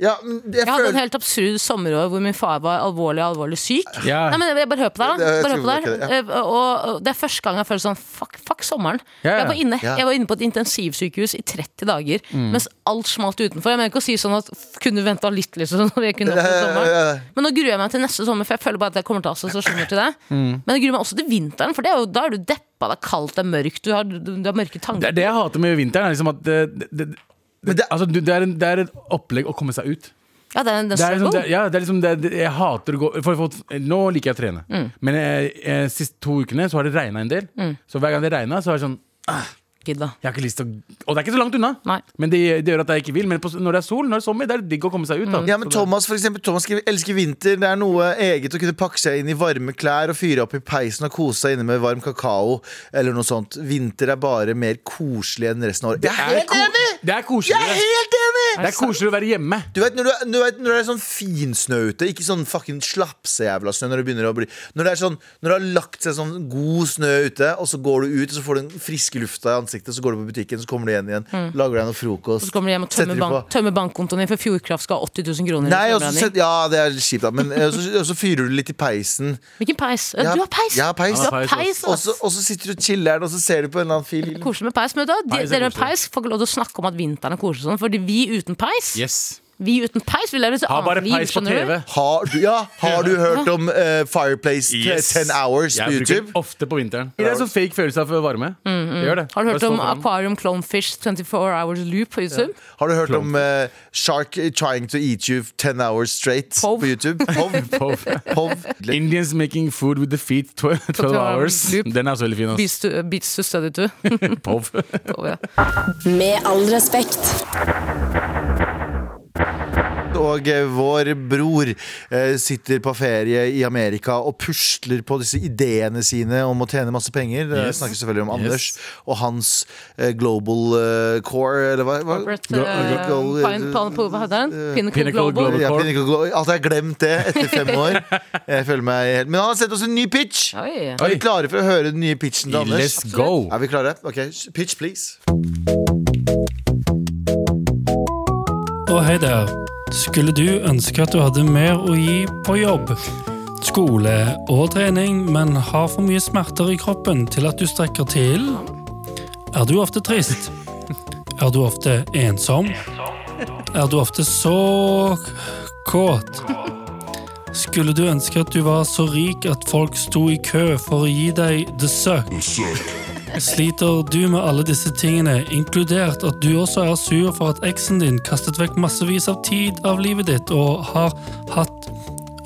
Speaker 3: Ja.
Speaker 4: men
Speaker 2: Jeg
Speaker 4: jeg,
Speaker 2: hadde
Speaker 4: føler
Speaker 2: en helt absurd sommerår hvor min far var alvorlig alvorlig syk.
Speaker 3: Ja.
Speaker 2: Nei, men jeg bare hør på deg, da.
Speaker 4: Ja, jeg
Speaker 2: Bare hør på
Speaker 4: trodde
Speaker 2: deg. Eh, Og og det er første gang jeg føler sånn fuck, fuck sommeren.
Speaker 3: Ja, ja.
Speaker 2: Jeg, var inne,
Speaker 4: Ja.
Speaker 2: jeg var inne på et intensivsykehus i 30 dager mens alt smalt utenfor. Jeg mener ikke å si sånn at f- kunne venta litt, liksom. Når jeg kunne hatt
Speaker 4: Ja,
Speaker 2: en
Speaker 4: ja,
Speaker 2: sommer.
Speaker 4: ja, ja.
Speaker 2: Men nå gruer jeg meg til neste sommer, for jeg føler bare at jeg kommer til å ha assosiasjoner til det.
Speaker 3: Mm.
Speaker 2: Men jeg gruer meg også til vinteren, for det er jo, da er du deppa, det er kaldt, det er mørkt, du har, du, du har mørke
Speaker 3: Det
Speaker 2: tanker.
Speaker 3: er det jeg hater med vinteren. Er liksom at det, det, det,
Speaker 4: Men det-
Speaker 3: altså, du- det, er en, det er et opplegg å komme seg ut.
Speaker 2: Ja, det er, sånn det
Speaker 3: Det er
Speaker 2: er,
Speaker 3: liksom, det,
Speaker 2: struggle.
Speaker 3: er- ja, det er liksom det, det, jeg hater å gå for, for, Nå liker jeg å trene, men jeg, jeg, siste to ukene så har det regna en del. Så hver gang det regna, så er det sånn
Speaker 2: Gidda.
Speaker 3: Jeg har ikke lyst til å Og det er ikke så langt unna.
Speaker 2: Nei.
Speaker 3: Men det, det gjør at jeg ikke vil. Men på, når det er sol, når det er sommer, det er digg å komme seg ut. Da.
Speaker 2: Mm.
Speaker 4: ja, men Thomas for eksempel, Thomas skriver, elsker vinter. Det er noe eget å kunne pakke seg inn i varme klær og fyre opp i peisen og kose seg inne med varm kakao. Eller noe sånt. Vinter er bare mer koselig enn resten av året. Jeg er helt
Speaker 3: ko-
Speaker 4: enig!
Speaker 3: Det er
Speaker 4: Jeg er
Speaker 3: koseligere.
Speaker 4: helt enig!
Speaker 3: Det er koseligere å være hjemme.
Speaker 4: Du vet, når, du, er- du vet, når det er sånn finsnø ute, ikke sånn fucking slapsejævla snø Når det begynner å bli Når det er sånn, når det har lagt seg sånn god snø ute, og så går du ut, og så får du den friske lufta i ansiktet, så går du på butikken, så kommer du igjen igjen, lager deg noe frokost
Speaker 2: Så kommer de hjem Mm. og
Speaker 4: setter
Speaker 2: tømmer,
Speaker 4: de
Speaker 2: bank,
Speaker 4: på-
Speaker 2: tømmer bankkontoen din, for Fjordkraft skal ha 80 000 kroner. i
Speaker 4: Nei, altså, og så
Speaker 2: strømregning.
Speaker 4: set- ja, det er kjipt, da, men eh, og så, og så fyrer du litt i peisen.
Speaker 2: Hvilken peis? Ja,
Speaker 4: Ja,
Speaker 2: du har peis!
Speaker 4: jeg har peis.
Speaker 2: Du har
Speaker 3: Jeg har
Speaker 2: peis
Speaker 4: Og
Speaker 2: ass.
Speaker 4: så og så sitter du og chiller'n, og så ser du på en eller annen
Speaker 2: Det er
Speaker 4: film.
Speaker 2: Koselig med peis. Men vet du, hva? de,
Speaker 3: Peis er
Speaker 2: dere med
Speaker 3: koselig.
Speaker 2: peis får ikke lov til å snakke om at vinteren er koselig, og sånn, fordi vi uten peis
Speaker 3: Yes.
Speaker 2: Vi uten peis vil leve et
Speaker 3: Ha
Speaker 2: annet
Speaker 3: bare
Speaker 2: Ah, liv.
Speaker 3: peis på
Speaker 2: skjønner
Speaker 3: TV.
Speaker 2: du?
Speaker 4: Har du, ja, har du hørt om eh, Fireplace
Speaker 3: Yes.
Speaker 4: 10 Hours på
Speaker 3: Jeg bruker
Speaker 4: YouTube?
Speaker 3: den Ofte på vinteren. Det er en sånn fake følelse av varme. Det gjør det.
Speaker 2: Mm, Har du hørt
Speaker 3: Bare
Speaker 2: om
Speaker 3: stå foran den.
Speaker 2: Aquarium Clownfish 24 Hours Loop på YouTube?
Speaker 4: Har du hørt om eh, Shark trying to eat you 10 hours straight
Speaker 2: Pov.
Speaker 4: på YouTube? Pov.
Speaker 3: Pov.
Speaker 4: Pov.
Speaker 3: Indians making food with the feet 12, 12 hours.
Speaker 2: Loop.
Speaker 3: Den er også veldig fin.
Speaker 2: Beats to, beats to study to.
Speaker 3: ass. Pov.
Speaker 2: På, ja.
Speaker 1: Med all respekt.
Speaker 4: Og eh, vår bror eh, sitter på ferie i Amerika og pusler på disse ideene sine om å tjene masse penger. Det
Speaker 3: Yes.
Speaker 4: snakker selvfølgelig om
Speaker 3: Yes.
Speaker 4: Anders og hans eh, global eh, core, eller hva? hva?
Speaker 2: Corporate,
Speaker 3: Go-
Speaker 2: eh,
Speaker 4: go- go-
Speaker 2: pine- pan- på- hva heter
Speaker 4: uh,
Speaker 2: den? Pinnacle
Speaker 3: Pinnacle
Speaker 2: Global.
Speaker 3: Global.
Speaker 4: Ja,
Speaker 3: core.
Speaker 4: Pinnacle Glo- At jeg har glemt det etter fem år. Jeg føler meg helt Men han har sendt oss en ny pitch!
Speaker 2: Oi.
Speaker 4: Er vi klare for å høre den nye pitchen til Anders?
Speaker 3: Let's
Speaker 4: Oh.
Speaker 3: go.
Speaker 4: Er vi klare? Ok, Pitch, please.
Speaker 7: og hei der. Skulle du ønske at du hadde mer å gi på jobb, skole og trening, men har for mye smerter i kroppen til at du strekker til? Er du ofte trist? Er du ofte ensom? Er du ofte så kåt? Skulle du ønske at du var så rik at folk sto i kø for å gi deg the suck? Sliter du med alle disse tingene, inkludert at du også er sur for at eksen din kastet vekk massevis av tid av livet ditt og har hatt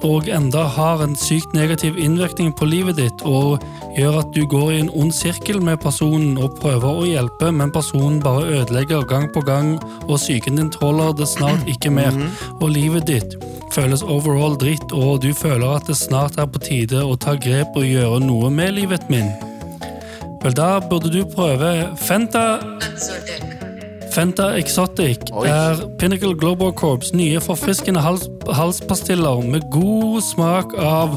Speaker 7: og enda har en sykt negativ innvirkning på livet ditt og gjør at du går i en ond sirkel med personen og prøver å hjelpe, men personen bare ødelegger gang på gang, og psyken din tåler det snart ikke mer. Og livet ditt føles overall dritt, og du føler at det snart er på tide å ta grep og gjøre noe med livet min. Vel, da burde du prøve Fenta Fenta Exotic er Pinnacle Global Corps nye forfriskende hals halspastiller med god smak av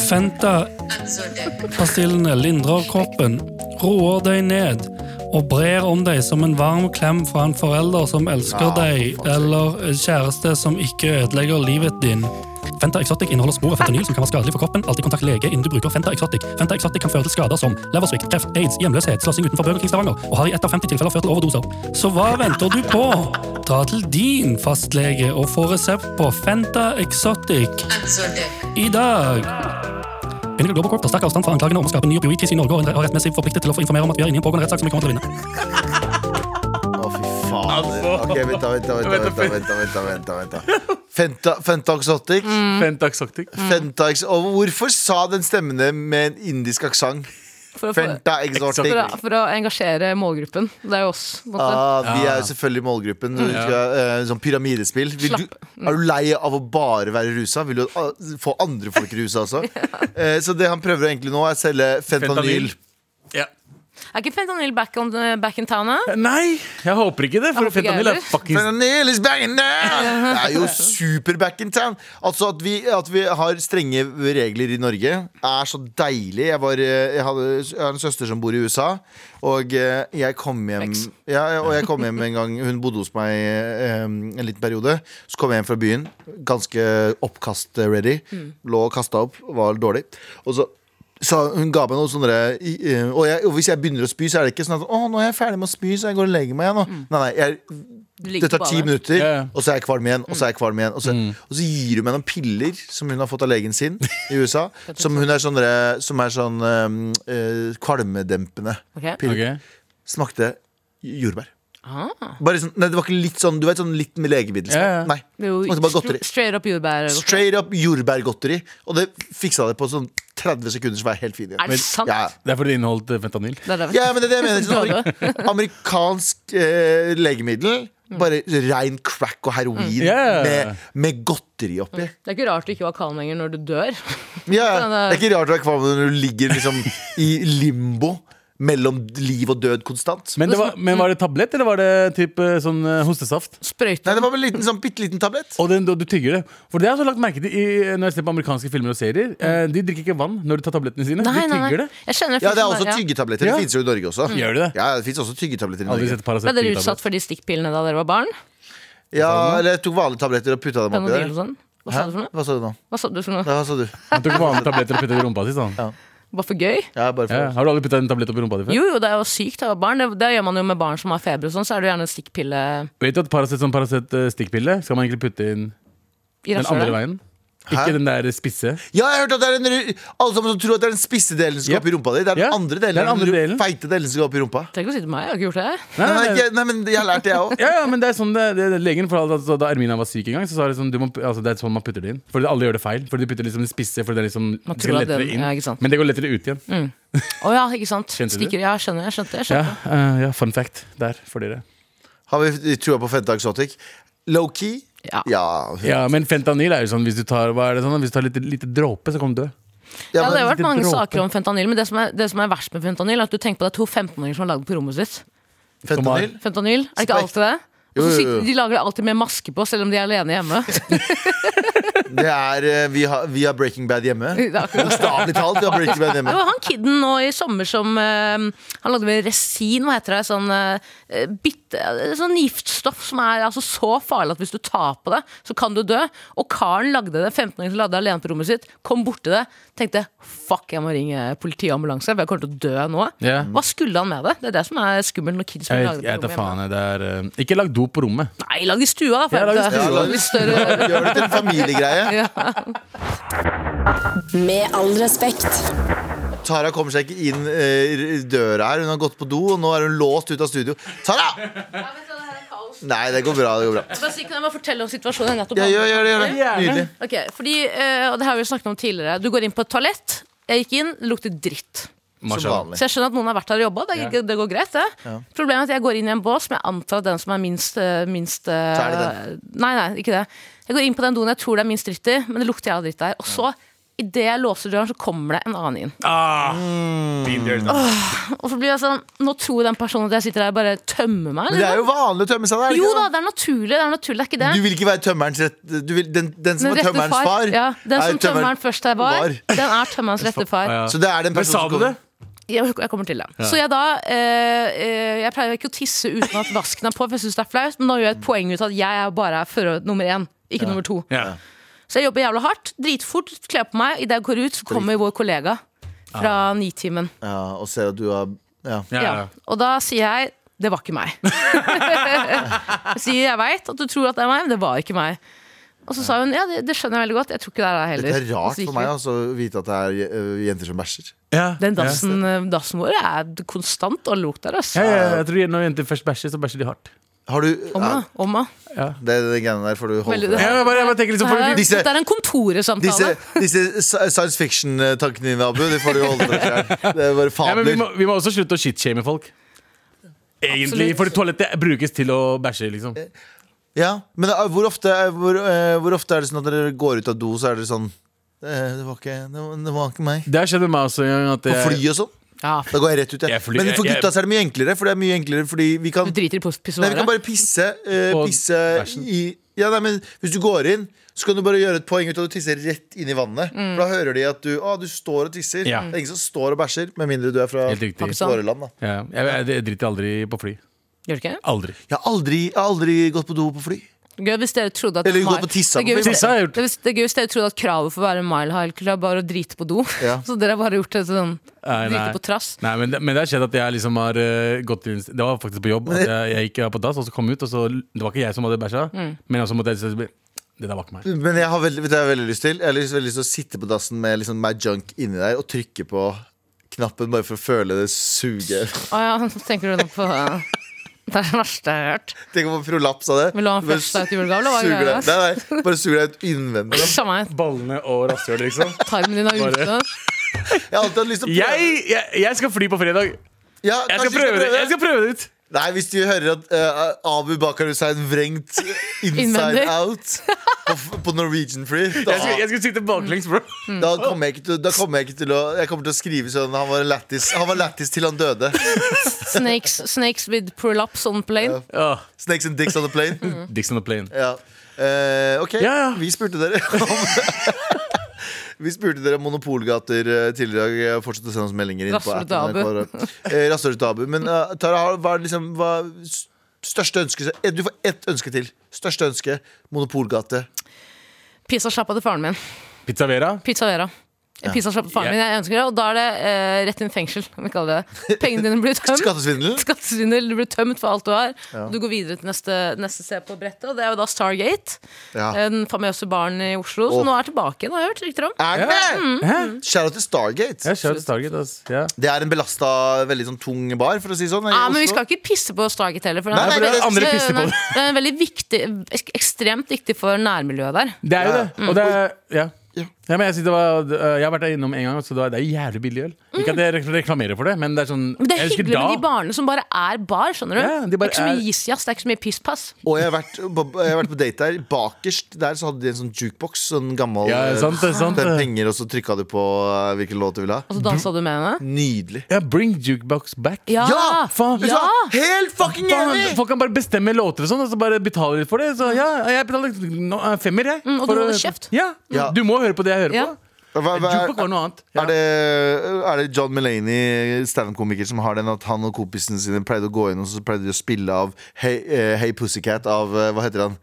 Speaker 7: Fenta-pastillene lindrer kroppen, roer deg ned og brer om deg som en varm klem fra en forelder som elsker deg, eller en kjæreste som ikke ødelegger livet din. Fenta Exotic inneholder spor av fentanyl som kan være skadelig for kroppen. Alltid kontakt lege innen du bruker Fenta Exotic. Fenta Exotic kan føre til skader som leversvikt, kreft, aids, hjemløshet, slåssing utenfor Burger King Stavanger, og har i ett av 50 tilfeller ført til overdoser. Så hva venter du på? Dra til din fastlege og få resept på Fenta Exotic i dag. Pinnacle Global Corp tar sterk avstand fra anklagene om å skape ny opioidkrise i Norge og er rettmessig forpliktet til å få informere om at vi er inne i en pågående rettssak som vi kommer til å vinne.
Speaker 4: Å, fy fader. Ok, vent da, vent da, vent da, vent da, vent da, vent da, vent da, vent da. Fenta, Fenta Exotic.
Speaker 2: Mm.
Speaker 3: Fentaxaktikk.
Speaker 4: Fenta Ex- og hvorfor sa den stemmen det med en indisk aksent?
Speaker 2: For å, for,
Speaker 4: Fenta Exotic.
Speaker 2: for, å, for å engasjere målgruppen. Det er jo oss. på en måte.
Speaker 4: Ah, vi er jo selvfølgelig i målgruppen. når vi Skal, eh, sånn pyramidespill. Vil du, er du lei av å bare være rusa? Vil du ah, få andre folk rusa også? Eh, så det han prøver egentlig nå, er å selge fentanyl.
Speaker 3: Ja.
Speaker 2: Er ikke fentanyl back, on, back in town? da?
Speaker 3: Nei, jeg håper ikke det, for
Speaker 2: Jeg håper ikke
Speaker 3: fentanyl er
Speaker 2: heller.
Speaker 3: fuckings
Speaker 4: Fentanyl is back in town! Det er jo super back in town. Altså At vi, at vi har strenge regler i Norge, er så deilig. Jeg, var, eh, jeg, hadde, jeg har en søster som bor i USA, og eh, jeg kom hjem
Speaker 2: Vex.
Speaker 4: ja, Og jeg kom hjem en gang Hun bodde hos meg eh, en liten periode. Så kom jeg hjem fra byen, ganske oppkast-ready. Lå og kasta opp, var dårlig. Og så sa hun ga meg noen sånne der, i- eh, og, jeg, og hvis jeg begynner å spy, så er det ikke sånn at Å, nå er jeg ferdig med å spy, så jeg går og legger meg igjen. nå». Nei, nei, jeg
Speaker 2: Du ligger
Speaker 4: det tar
Speaker 2: på
Speaker 4: ti
Speaker 2: badet.
Speaker 4: minutter,
Speaker 3: Ja, Mm. ja.
Speaker 4: og så er jeg kvalm igjen. Og så er jeg kvalm igjen Og så, og så gir hun meg noen piller som hun har fått av legen sin i USA. som hun er sånn derre- Som er sånn um, eh, kvalmedempende
Speaker 2: Ok.
Speaker 4: piller.
Speaker 3: Ok.
Speaker 4: Smakte jordbær.
Speaker 2: Ah,
Speaker 4: Bare sånn, nei, det var ikke litt sånn Du vet sånn litt med legemiddelsmak?
Speaker 3: Ja, ja.
Speaker 4: Nei.
Speaker 2: det er jo
Speaker 4: Smakte bare godteri.
Speaker 2: stra- Straight up jordbær.
Speaker 4: Straight up jordbærgodteri. Og det fiksa det på sånn 30 sekunder, så var jeg helt fin
Speaker 2: Er
Speaker 4: igjen.
Speaker 2: det sant?
Speaker 4: Ja, ja.
Speaker 3: Det er fordi det inneholdt eh, fentanyl.
Speaker 2: Det er det.
Speaker 4: Ja, men det er det jeg mener. Sånn, amerik- amerikansk eh, legemiddel. Bare rein crack og heroin
Speaker 3: Ja.
Speaker 4: med, med godteri oppi.
Speaker 2: Det er ikke rart du ikke var kalm lenger når du dør.
Speaker 4: Ja, ja.
Speaker 2: Den
Speaker 4: Det
Speaker 2: er-
Speaker 4: er ikke rart du er kvalm når du ligger liksom i limbo mellom liv og død konstant.
Speaker 3: Men, det var, men
Speaker 2: Mm.
Speaker 3: var det tablett, eller var det typ eh, sånn eh, hostesaft?
Speaker 2: Sprøyte.
Speaker 4: Nei, det var vel en liten, sånn, bitte liten tablett.
Speaker 3: Og den, og du tygger det. For det har jeg også lagt merke til i, eh, når jeg ser på amerikanske filmer og serier. Eh, de drikker ikke vann når de tar tablettene
Speaker 2: Mm.
Speaker 3: sine.
Speaker 2: Nei,
Speaker 3: de
Speaker 2: nei,
Speaker 3: tygger
Speaker 2: nei. Jeg kjenner
Speaker 4: Ja, det er
Speaker 2: folk som
Speaker 4: også
Speaker 2: ja. Mm.
Speaker 4: tyggetabletter.
Speaker 3: Ja.
Speaker 4: Det fins jo i Norge også.
Speaker 3: Gjør det det?
Speaker 4: Ja, det fins også tyggetabletter
Speaker 3: det.
Speaker 4: i
Speaker 3: Aldri
Speaker 4: Norge.
Speaker 3: sett Paracet
Speaker 2: Ble dere
Speaker 3: tygge
Speaker 2: utsatt
Speaker 3: tablett.
Speaker 2: for de stikkpillene da dere var barn?
Speaker 4: Ja, eller jeg tok vanlige tabletter og putta dem oppi
Speaker 2: Panodil og
Speaker 4: der.
Speaker 2: sånn? Hva
Speaker 4: Hæ?
Speaker 2: sa du for noe?
Speaker 4: Hva sa du nå?
Speaker 2: Hva sa du for noe?
Speaker 4: Ja, hva sa du?
Speaker 3: Han tok vanlige tabletter og puttet det i rumpa si. Sånn. Ja.
Speaker 2: Bare for gøy?
Speaker 4: Ja, bare for
Speaker 3: Har du aldri putta en tablett opp i rumpa di før?
Speaker 2: Jo, jo, det er jo sykt å være barn. Det, det gjør man jo med barn som har feber og sånn, så er det jo gjerne en stikkpille
Speaker 3: Vet du at Paracet som Paracet eh, stikkpille skal man egentlig putte inn
Speaker 2: i
Speaker 3: den andre
Speaker 2: rasshølet.
Speaker 3: veien?
Speaker 4: Hæ?
Speaker 3: Ikke den der spisse.
Speaker 4: Ja, jeg har hørt at det er en ru- alle sammen som tror at det er den spisse delen som skal
Speaker 3: Ja.
Speaker 4: opp i rumpa di. Det er
Speaker 3: Ja,
Speaker 4: den andre
Speaker 3: det er
Speaker 4: delen.
Speaker 3: den andre
Speaker 4: ru-
Speaker 3: delen.
Speaker 4: feite delen som skal opp i rumpa.
Speaker 2: Trenger ikke å si til meg, jeg har ikke gjort det.
Speaker 4: Nei, nei, ikke, nei men jeg har lært det, jeg òg.
Speaker 3: Ja, ja, men det er sånn det, det, Legen fortalte at da Ermina var syk en gang, Så sa de sånn du må, altså, det er sånn man putter det inn. Fordi alle gjør det feil. Fordi de putter liksom det spisse, Fordi det er liksom
Speaker 2: Man
Speaker 3: det går
Speaker 2: tror at
Speaker 3: lettere
Speaker 2: den-
Speaker 3: inn.
Speaker 2: ja, ikke sant. Mm.
Speaker 3: Men det går lettere ut igjen.
Speaker 2: Å ja, ikke sant.
Speaker 3: Skjønte du?
Speaker 2: Stikker, ja, jeg skjønner, jeg skjønte. Jeg
Speaker 3: Ja,
Speaker 2: skjønte.
Speaker 3: eh, ja, fun fact der for dere.
Speaker 4: Har vi trua på Fenta Exotic? Low-key?
Speaker 2: Ja.
Speaker 4: Ja,
Speaker 3: Ja, Men fentanyl er jo sånn hvis du tar hva er det sånn, Hvis du tar litt, lite dråpe, så kan du dø.
Speaker 2: Ja, det har
Speaker 3: men
Speaker 2: vært mange
Speaker 3: dråpe.
Speaker 2: saker om fentanyl, men det som er, det som er verst med fentanyl, er at du tenker på det er to 15-åringer som har lagd på rommet sitt.
Speaker 4: Fentanyl?
Speaker 2: Fentanyl, er det ikke
Speaker 4: Sprøyt.
Speaker 2: alltid det? Og så
Speaker 4: Jo, jo, jo.
Speaker 2: sitter- De lager det alltid med maske på, selv om de er alene hjemme.
Speaker 4: Det er, eh, vi, har, vi har Breaking Bad hjemme.
Speaker 2: Det er akkurat det.
Speaker 4: Bokstavelig talt. Vi har Breaking Bad
Speaker 2: Det
Speaker 4: hjemme
Speaker 2: var han ehm, kidden nå i sommer som eh, Han lagde med resin, hva heter det? Sånn uh, bitte gift, eh, sånn giftstoff som er altså så farlig at hvis du tar på det, så kan du dø. Og karen lagde det, 15-åringen som lagde det alene på rommet sitt, kom borti det, tenkte fuck, jeg må ringe politi og ambulanse, for jeg kommer til å dø nå.
Speaker 3: Ja.
Speaker 2: Hva skulle han med det? Det er det som er skummelt når kids
Speaker 3: Jeg
Speaker 2: blir
Speaker 3: vet
Speaker 2: laget
Speaker 3: jeg vet
Speaker 2: på
Speaker 3: da
Speaker 2: rommet. hjemme.
Speaker 3: faen. jeg, Det er, eh, ikke lag dop på rommet.
Speaker 2: Nei, lag i stua, da. For
Speaker 3: Ja, lag i
Speaker 2: helvete.
Speaker 3: stua.
Speaker 2: Litt større
Speaker 4: Gjør det til en familiegreie.
Speaker 1: Med all respekt.
Speaker 4: Tara kommer seg ikke inn eh, døra her. Hun har gått på do, og nå er hun låst ut av studio. Tara! Nei, det går bra. det går bra
Speaker 2: Bare si, Kan jeg bare fortelle om situasjonen? jeg nettopp
Speaker 4: Ja,
Speaker 2: hadde?
Speaker 4: gjør, gjør det. gjør det Nydelig.
Speaker 2: Ok, fordi, eh, og det har vi jo snakket om tidligere Du går inn på et toalett Jeg gikk inn, det lukter dritt
Speaker 4: Som
Speaker 3: Marshall.
Speaker 4: vanlig.
Speaker 2: Så jeg skjønner at noen har vært her og jobbet Det, det går greit det Problemet er at jeg går inn i en bås Men jeg antar at den som er minst, eh, minst eh,
Speaker 4: Så er det
Speaker 2: Nei, nei, ikke det Jeg går inn på den doen jeg tror det er minst dritt i Men det lukter jeg av dritt der Og så, i det jeg låser døren så kommer det en annen inn
Speaker 4: Mm.
Speaker 2: Og så blir jeg sånn Nå tror den personen at jeg sitter der og bare tømmer meg
Speaker 4: Men det er jo
Speaker 2: liksom.
Speaker 4: vanlig å tømme seg der. er det
Speaker 2: Jo
Speaker 4: ikke
Speaker 2: da,
Speaker 4: det?
Speaker 2: det er naturlig, det er naturlig, det er ikke det
Speaker 4: Du vil ikke være tømmerens rett du vil, den, den som
Speaker 2: Den
Speaker 4: er
Speaker 2: rette
Speaker 4: tømmerens far,
Speaker 2: ja, Den
Speaker 4: er
Speaker 2: som tømmeren først her var,
Speaker 4: var.
Speaker 2: den er tømmerens rette far.
Speaker 3: Ja.
Speaker 4: Så det er den
Speaker 3: Men
Speaker 4: personen
Speaker 3: sa
Speaker 4: som
Speaker 3: du det?
Speaker 4: kommer.
Speaker 2: Jeg, jeg kommer til det. Så jeg da eh, eh, Jeg pleier ikke å tisse uten at vasken er på, for jeg syns det er flaut, men nå gjør jeg et poeng ut av at jeg er bare er fører nummer én, ikke nummer to.
Speaker 3: Ja.
Speaker 2: Så jeg jobber jævla hardt, dritfort, kler på meg. Idet jeg går ut, så kommer vår kollega fra Nitimen.
Speaker 4: Ja, og ser at du har ja.
Speaker 3: Ja.
Speaker 2: Ja.
Speaker 3: ja.
Speaker 2: Og da sier jeg det var ikke meg. jeg sier jeg veit at du tror at det er meg, men det var ikke meg. Og så sa hun ja, det, det skjønner jeg veldig godt, jeg tror ikke det er deg
Speaker 4: Det
Speaker 2: heller.
Speaker 4: er
Speaker 2: Og så
Speaker 4: rart
Speaker 2: gikk
Speaker 4: for
Speaker 2: vi.
Speaker 4: meg altså, å vite at det er øh, jenter som bæsjer.
Speaker 2: Den dassen, eh, dassen vår er konstant og lukter der, altså.
Speaker 3: Ja, ja, jeg tror Når jenter først bæsjer, så bæsjer de hardt.
Speaker 4: Har du
Speaker 2: Omma,
Speaker 4: ja,
Speaker 2: omma.
Speaker 4: Det er de greiene der får du holde
Speaker 2: Veldig
Speaker 4: for deg.
Speaker 2: det.
Speaker 3: jeg bare, jeg bare tenker liksom
Speaker 2: Det
Speaker 3: for
Speaker 2: er,
Speaker 3: det-
Speaker 4: disse-
Speaker 2: dette er en
Speaker 4: Disse,
Speaker 2: kontoresamtale.
Speaker 4: disse sci- science fiction-tankene dine, Abu, de får du holde for deg selv. Det er bare
Speaker 3: ja, men vi,
Speaker 4: fabler.
Speaker 3: må, vi må også slutte å shitshame folk.
Speaker 2: Absolutt.
Speaker 3: Egentlig,
Speaker 2: Eh.
Speaker 3: for toalettet brukes til å bæsje, liksom.
Speaker 4: Ja, men øh, hvor ofte, hvor, øh, hvor ofte er det sånn at dere går ut av do, så er dere sånn eh, det var, ikke, det, var, det var ikke meg.
Speaker 3: Det har skjedd med meg også en gang. At
Speaker 4: På fly
Speaker 3: jeg,
Speaker 4: og sånn.
Speaker 2: Ja,
Speaker 4: Da går jeg rett ut, jeg.
Speaker 3: Jeg fly-
Speaker 4: men for
Speaker 3: jeg-
Speaker 4: gutta så er det mye enklere, for det er mye enklere fordi vi kan
Speaker 2: du driter i
Speaker 4: Nei, vi kan
Speaker 2: pissoaret.
Speaker 4: bare pisse, eh,
Speaker 3: Og
Speaker 4: pisse
Speaker 3: bæsjen.
Speaker 4: i ja, nei, men Hvis du går inn, så kan du bare gjøre et poeng ut av at du tisser rett inn i vannet. For Da hører de at du, å, du står og tisser.
Speaker 3: Ja.
Speaker 4: Det er ingen som står og bæsjer, med mindre du er fra
Speaker 3: Helt riktig.
Speaker 2: Pakistan.
Speaker 4: våre land. Da.
Speaker 3: ja, jeg, jeg, jeg driter aldri på fly.
Speaker 2: Gjør du ikke? det?
Speaker 3: Aldri.
Speaker 4: Jeg har aldri, jeg har aldri gått på do på fly.
Speaker 2: Gøy hvis dere trodde at
Speaker 4: Eller
Speaker 2: Mile-
Speaker 4: gå på tissa
Speaker 2: Det er gøy
Speaker 4: på
Speaker 2: hvis-
Speaker 3: Tissa har jeg gjort.
Speaker 2: det er hvis- Det er gøy hvis dere trodde at kravet for å være Mile High Club var å drite på do.
Speaker 4: Ja.
Speaker 2: Så dere har bare gjort det sånn
Speaker 3: Nei, nei.
Speaker 2: drite på trass.
Speaker 3: Nei, men, det- men det har skjedd at jeg liksom har eh, gått inn Det var faktisk på jobb. At jeg, jeg gikk på dass og så kom ut, og så Det var ikke jeg som hadde bæsja,
Speaker 2: Mm.
Speaker 3: men også måtte jeg så- Det der var ikke meg.
Speaker 4: Men jeg har veldig, vet du, hva jeg har veldig lyst til Jeg har lyst, veldig lyst til å sitte på dassen med liksom, my junk inni der og trykke på knappen bare for å føle det suget.
Speaker 2: Å ja, så tenker du nå på Det er det verste jeg har hørt.
Speaker 4: Tenk om prolaps av det.
Speaker 2: Vil du ha en
Speaker 4: Bare
Speaker 2: flashlight i julegave, eller hva er
Speaker 4: suger
Speaker 2: greia?
Speaker 4: deg- Nei, nei, bare suger deg ut innvendig. da.
Speaker 2: Samme her.
Speaker 3: Ballene og rasshølet, liksom.
Speaker 2: Tarmen din er ute.
Speaker 3: Bare-
Speaker 4: Jeg har alltid hatt lyst til å prøve.
Speaker 3: Jeg, jeg, jeg skal fly på fredag.
Speaker 4: Ja,
Speaker 3: Jeg
Speaker 4: kanskje
Speaker 3: skal
Speaker 4: vi
Speaker 3: prøve det, jeg skal prøve det ut.
Speaker 4: Nei, hvis du hører at eh, Abu Bakar Hussein vrengt inside
Speaker 2: Innvendig.
Speaker 4: out på, f- på Norwegian Free, da,
Speaker 3: Jeg skal, jeg skal sitte baklengs, bro.
Speaker 2: Mm.
Speaker 4: da kommer jeg ikke til, da kommer jeg ikke til å Jeg kommer til å skrive sånn Han var en lættis Han var lættis til han døde.
Speaker 2: Snakes, snakes with prolapse on plane.
Speaker 3: Åh,
Speaker 4: Snakes and dicks on the plane.
Speaker 3: Dicks on the plane.
Speaker 4: Ja. Eh, ok,
Speaker 3: Ja, ja.
Speaker 4: vi spurte dere om Vi spurte dere om monopolgater eh, tidligere i dag. Fortsett å sende oss meldinger inn på
Speaker 2: Rasshølet til
Speaker 4: appen
Speaker 2: Abu.
Speaker 4: NRK. Eh, Rasshølet til Abu. Men eh, Tara, har- hva er liksom hva, s- største ønske eh, Du får ett ønske til. Største ønske. Monopolgate.
Speaker 2: Pizzasjappa til faren min.
Speaker 3: Pizza Vera.
Speaker 2: Pizza Vera. Pizza fra faren min, jeg ønsker det Og da er det eh, rett inn i fengsel. Om vi kaller det det. Pengene dine blir tømt.
Speaker 4: Skattesvindel?
Speaker 2: Skattesvindel, du blir tømt for alt du har. Du går videre til neste, neste sted på brettet, og det er jo da Stargate.
Speaker 4: Ja.
Speaker 2: Den famøse baren i Oslo som
Speaker 4: Åh.
Speaker 2: nå er tilbake igjen, har jeg hørt rykter om.
Speaker 4: Er den det?
Speaker 3: Hæ?
Speaker 4: Shout out til Stargate.
Speaker 3: Jeg kjører Stargate, ass. Ja.
Speaker 4: Det er en belasta, veldig sånn tung bar, for å si det sånn. i
Speaker 2: Ja, men vi
Speaker 4: Oslo.
Speaker 2: skal ikke pisse på Stargate heller. For den
Speaker 4: Nei,
Speaker 2: er
Speaker 4: for det er
Speaker 2: veldig-
Speaker 3: andre pisser på
Speaker 2: den er-
Speaker 3: det.
Speaker 2: Den er veldig viktig, ek- ekstremt viktig for nærmiljøet der.
Speaker 3: Det er jo
Speaker 4: Ja.
Speaker 3: det. Og det er, ja. Ja, men jeg, synes det var, jeg har vært der innom en gang, så det er- det er jævlig billig øl. Ikke at jeg rekl- reklamerer for det, men det er sånn
Speaker 2: Men det er
Speaker 3: jeg husker
Speaker 2: hyggelig med de
Speaker 3: da-
Speaker 2: barene som bare er bar, skjønner du.
Speaker 3: Ja, de bare
Speaker 2: det er ikke så
Speaker 3: er-
Speaker 2: mye isjazz, det er ikke så mye pisspass.
Speaker 4: Og jeg har, vært, på- jeg har vært på date der. Bakerst der så hadde de en sånn jukebox. Sånn gammel
Speaker 3: Ja,
Speaker 4: eh,
Speaker 3: sant, det er sant.
Speaker 4: med penger, og så trykka du på eh, hvilken låt du ville ha.
Speaker 2: Og så dansa du med henne.
Speaker 4: Nydelig.
Speaker 3: Ja, bring jukebox back.
Speaker 2: Ja!
Speaker 4: Ja,
Speaker 3: faen.
Speaker 4: Vet du
Speaker 2: Ja!
Speaker 4: hva? Helt fucking
Speaker 3: Faen,
Speaker 4: enig!
Speaker 3: folk kan bare bestemme låter og sånn, og så bare betaler de for det. Så ja, jeg betaler no, eh, femmer, jeg.
Speaker 2: Mm, og
Speaker 3: for
Speaker 2: du
Speaker 3: å-
Speaker 2: holder kjeft.
Speaker 3: Ja.
Speaker 4: Ja.
Speaker 3: Du må høre på det jeg hører
Speaker 2: Ja.
Speaker 3: på.
Speaker 4: Hva, hva,
Speaker 3: Jukebok var noe annet. Ja.
Speaker 4: er, det, er det John Mulaney, standup-komiker, som har den at han og kompisene sine pleide å gå inn og så pleide de å spille av Hey, eh, hey Pussycat av eh, Hva heter han?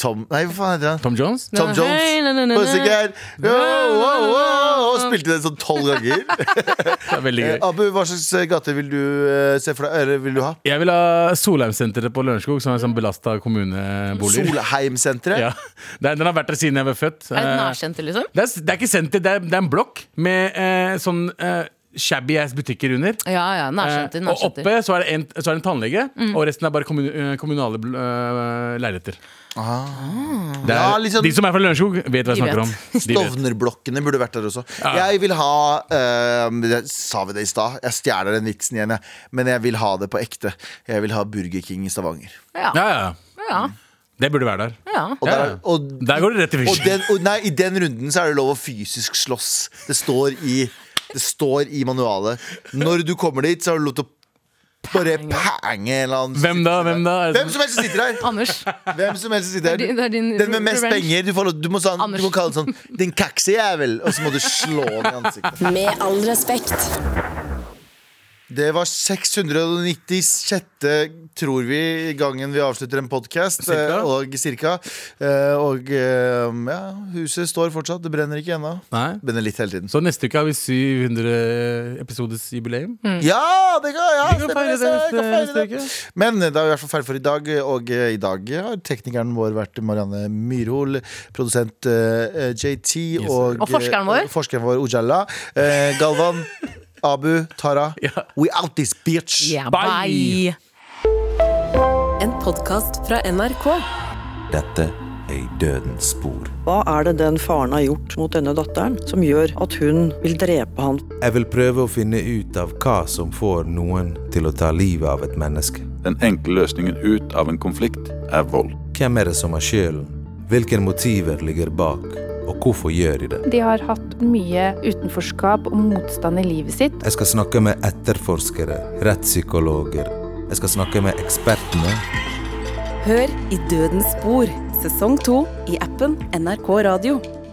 Speaker 4: Tom Nei, hva faen heter han?
Speaker 3: Tom Jones?
Speaker 4: Tom
Speaker 2: Hey, na, na,
Speaker 4: Jones.
Speaker 2: na, na.
Speaker 4: Pussycat! Yo, wow, wow, og spilte den sånn tolv ganger.
Speaker 3: Det er veldig
Speaker 4: Eh,
Speaker 3: gøy.
Speaker 4: Abu, hva slags eh, gate vil du eh, se for deg? Eller vil du ha?
Speaker 3: Jeg vil ha Solheimsenteret på Lørenskog, som er sånn belasta kommuneboliger.
Speaker 4: Solheimsenteret?
Speaker 3: Ja. Det er- Den har vært der siden jeg ble født.
Speaker 2: Er det
Speaker 3: Eh,
Speaker 2: nærkjente, liksom?
Speaker 3: Det er, det er ikke senter, det er, det er en blokk med eh, sånn eh, shabby ass butikker under.
Speaker 2: Ja, ja, nærkjente,
Speaker 3: Eh, og
Speaker 2: nærkjente.
Speaker 3: oppe så er det en, så er det en tannlege,
Speaker 2: Mm.
Speaker 3: og resten er bare kommun, eh, kommunale eh, leiligheter. Det er,
Speaker 4: Ja, litt sånn-
Speaker 3: De som er fra Lørenskog, vet hva
Speaker 2: De
Speaker 3: jeg snakker
Speaker 2: vet.
Speaker 3: om. De vet.
Speaker 4: Stovnerblokkene burde vært der også.
Speaker 3: Ja.
Speaker 4: Jeg vil ha eh, det- Sa vi det i stad? Jeg stjeler den vitsen igjen, jeg. Men jeg vil ha det på ekte. Jeg vil ha Burger King i Stavanger.
Speaker 2: Ja,
Speaker 3: Ja, ja.
Speaker 2: ja,
Speaker 3: Det burde være der.
Speaker 2: ja.
Speaker 4: Og,
Speaker 3: Ja,
Speaker 4: der,
Speaker 3: ja.
Speaker 4: og,
Speaker 3: Der går det rett i
Speaker 4: og,
Speaker 3: fisken.
Speaker 4: den, og nei, i den runden så er det lov å fysisk slåss. Det står i Det står i manualet. Når du kommer dit, så har du lov til å bare pange en eller annen
Speaker 3: Hvem da? Hvem da? Er det
Speaker 4: Hvem som helst som sitter her!
Speaker 2: Anders.
Speaker 4: Hvem som helst som sitter
Speaker 2: Det er din- det
Speaker 4: her
Speaker 2: er din
Speaker 4: Den med mest
Speaker 2: revenge.
Speaker 4: penger. Du, får, lov- du, må, sånn,
Speaker 2: Anders.
Speaker 4: du må kalle det sånn 'din kaksejævel', og så må du slå den i ansiktet.
Speaker 1: Med all respekt.
Speaker 4: Det var 696. tror vi, gangen vi avslutter en podkast.
Speaker 3: Cirka.
Speaker 4: Og cirka. Eh, Og eh, ja, huset står fortsatt. Det brenner ikke ennå.
Speaker 3: Nei.
Speaker 4: Det Brenner litt hele tiden.
Speaker 3: Så neste uke har vi 700 episodes jubileum.
Speaker 2: Mm.
Speaker 4: Ja, det kan, ja,
Speaker 3: Vi kan
Speaker 4: stemmer
Speaker 3: feire
Speaker 4: det,
Speaker 3: det
Speaker 4: så jeg
Speaker 3: neste-
Speaker 4: kan feire
Speaker 3: neste
Speaker 4: det.
Speaker 3: uke.
Speaker 4: Men det er i hvert fall ferdig for i dag, og eh, i dag har teknikeren vår vært Marianne Myrhol, produsent eh, eh, JT
Speaker 3: Yes.
Speaker 4: og,
Speaker 2: Og forskeren vår.
Speaker 4: eh, forskeren vår Ojala. Eh, Galvan, Abu, Tara.
Speaker 3: Ja.
Speaker 4: We out this bitch!
Speaker 2: Yeah,
Speaker 3: Bye.
Speaker 2: bye.
Speaker 1: En podkast fra NRK.
Speaker 8: Dette er Dødens spor.
Speaker 9: Hva er det den faren har gjort mot denne datteren som gjør at hun vil drepe han?
Speaker 8: Jeg vil prøve å finne ut av hva som får noen til å ta livet av et menneske.
Speaker 10: Den enkle løsningen ut av en konflikt er vold.
Speaker 8: Hvem er det som har skylden? Hvilke motiver ligger bak? Og hvorfor gjør de det?
Speaker 11: De har hatt mye utenforskap og motstand i livet sitt.
Speaker 8: Jeg skal snakke med etterforskere, rettspsykologer. Jeg skal snakke med ekspertene.
Speaker 1: Hør i Dødens spor, sesong to i appen NRK Radio.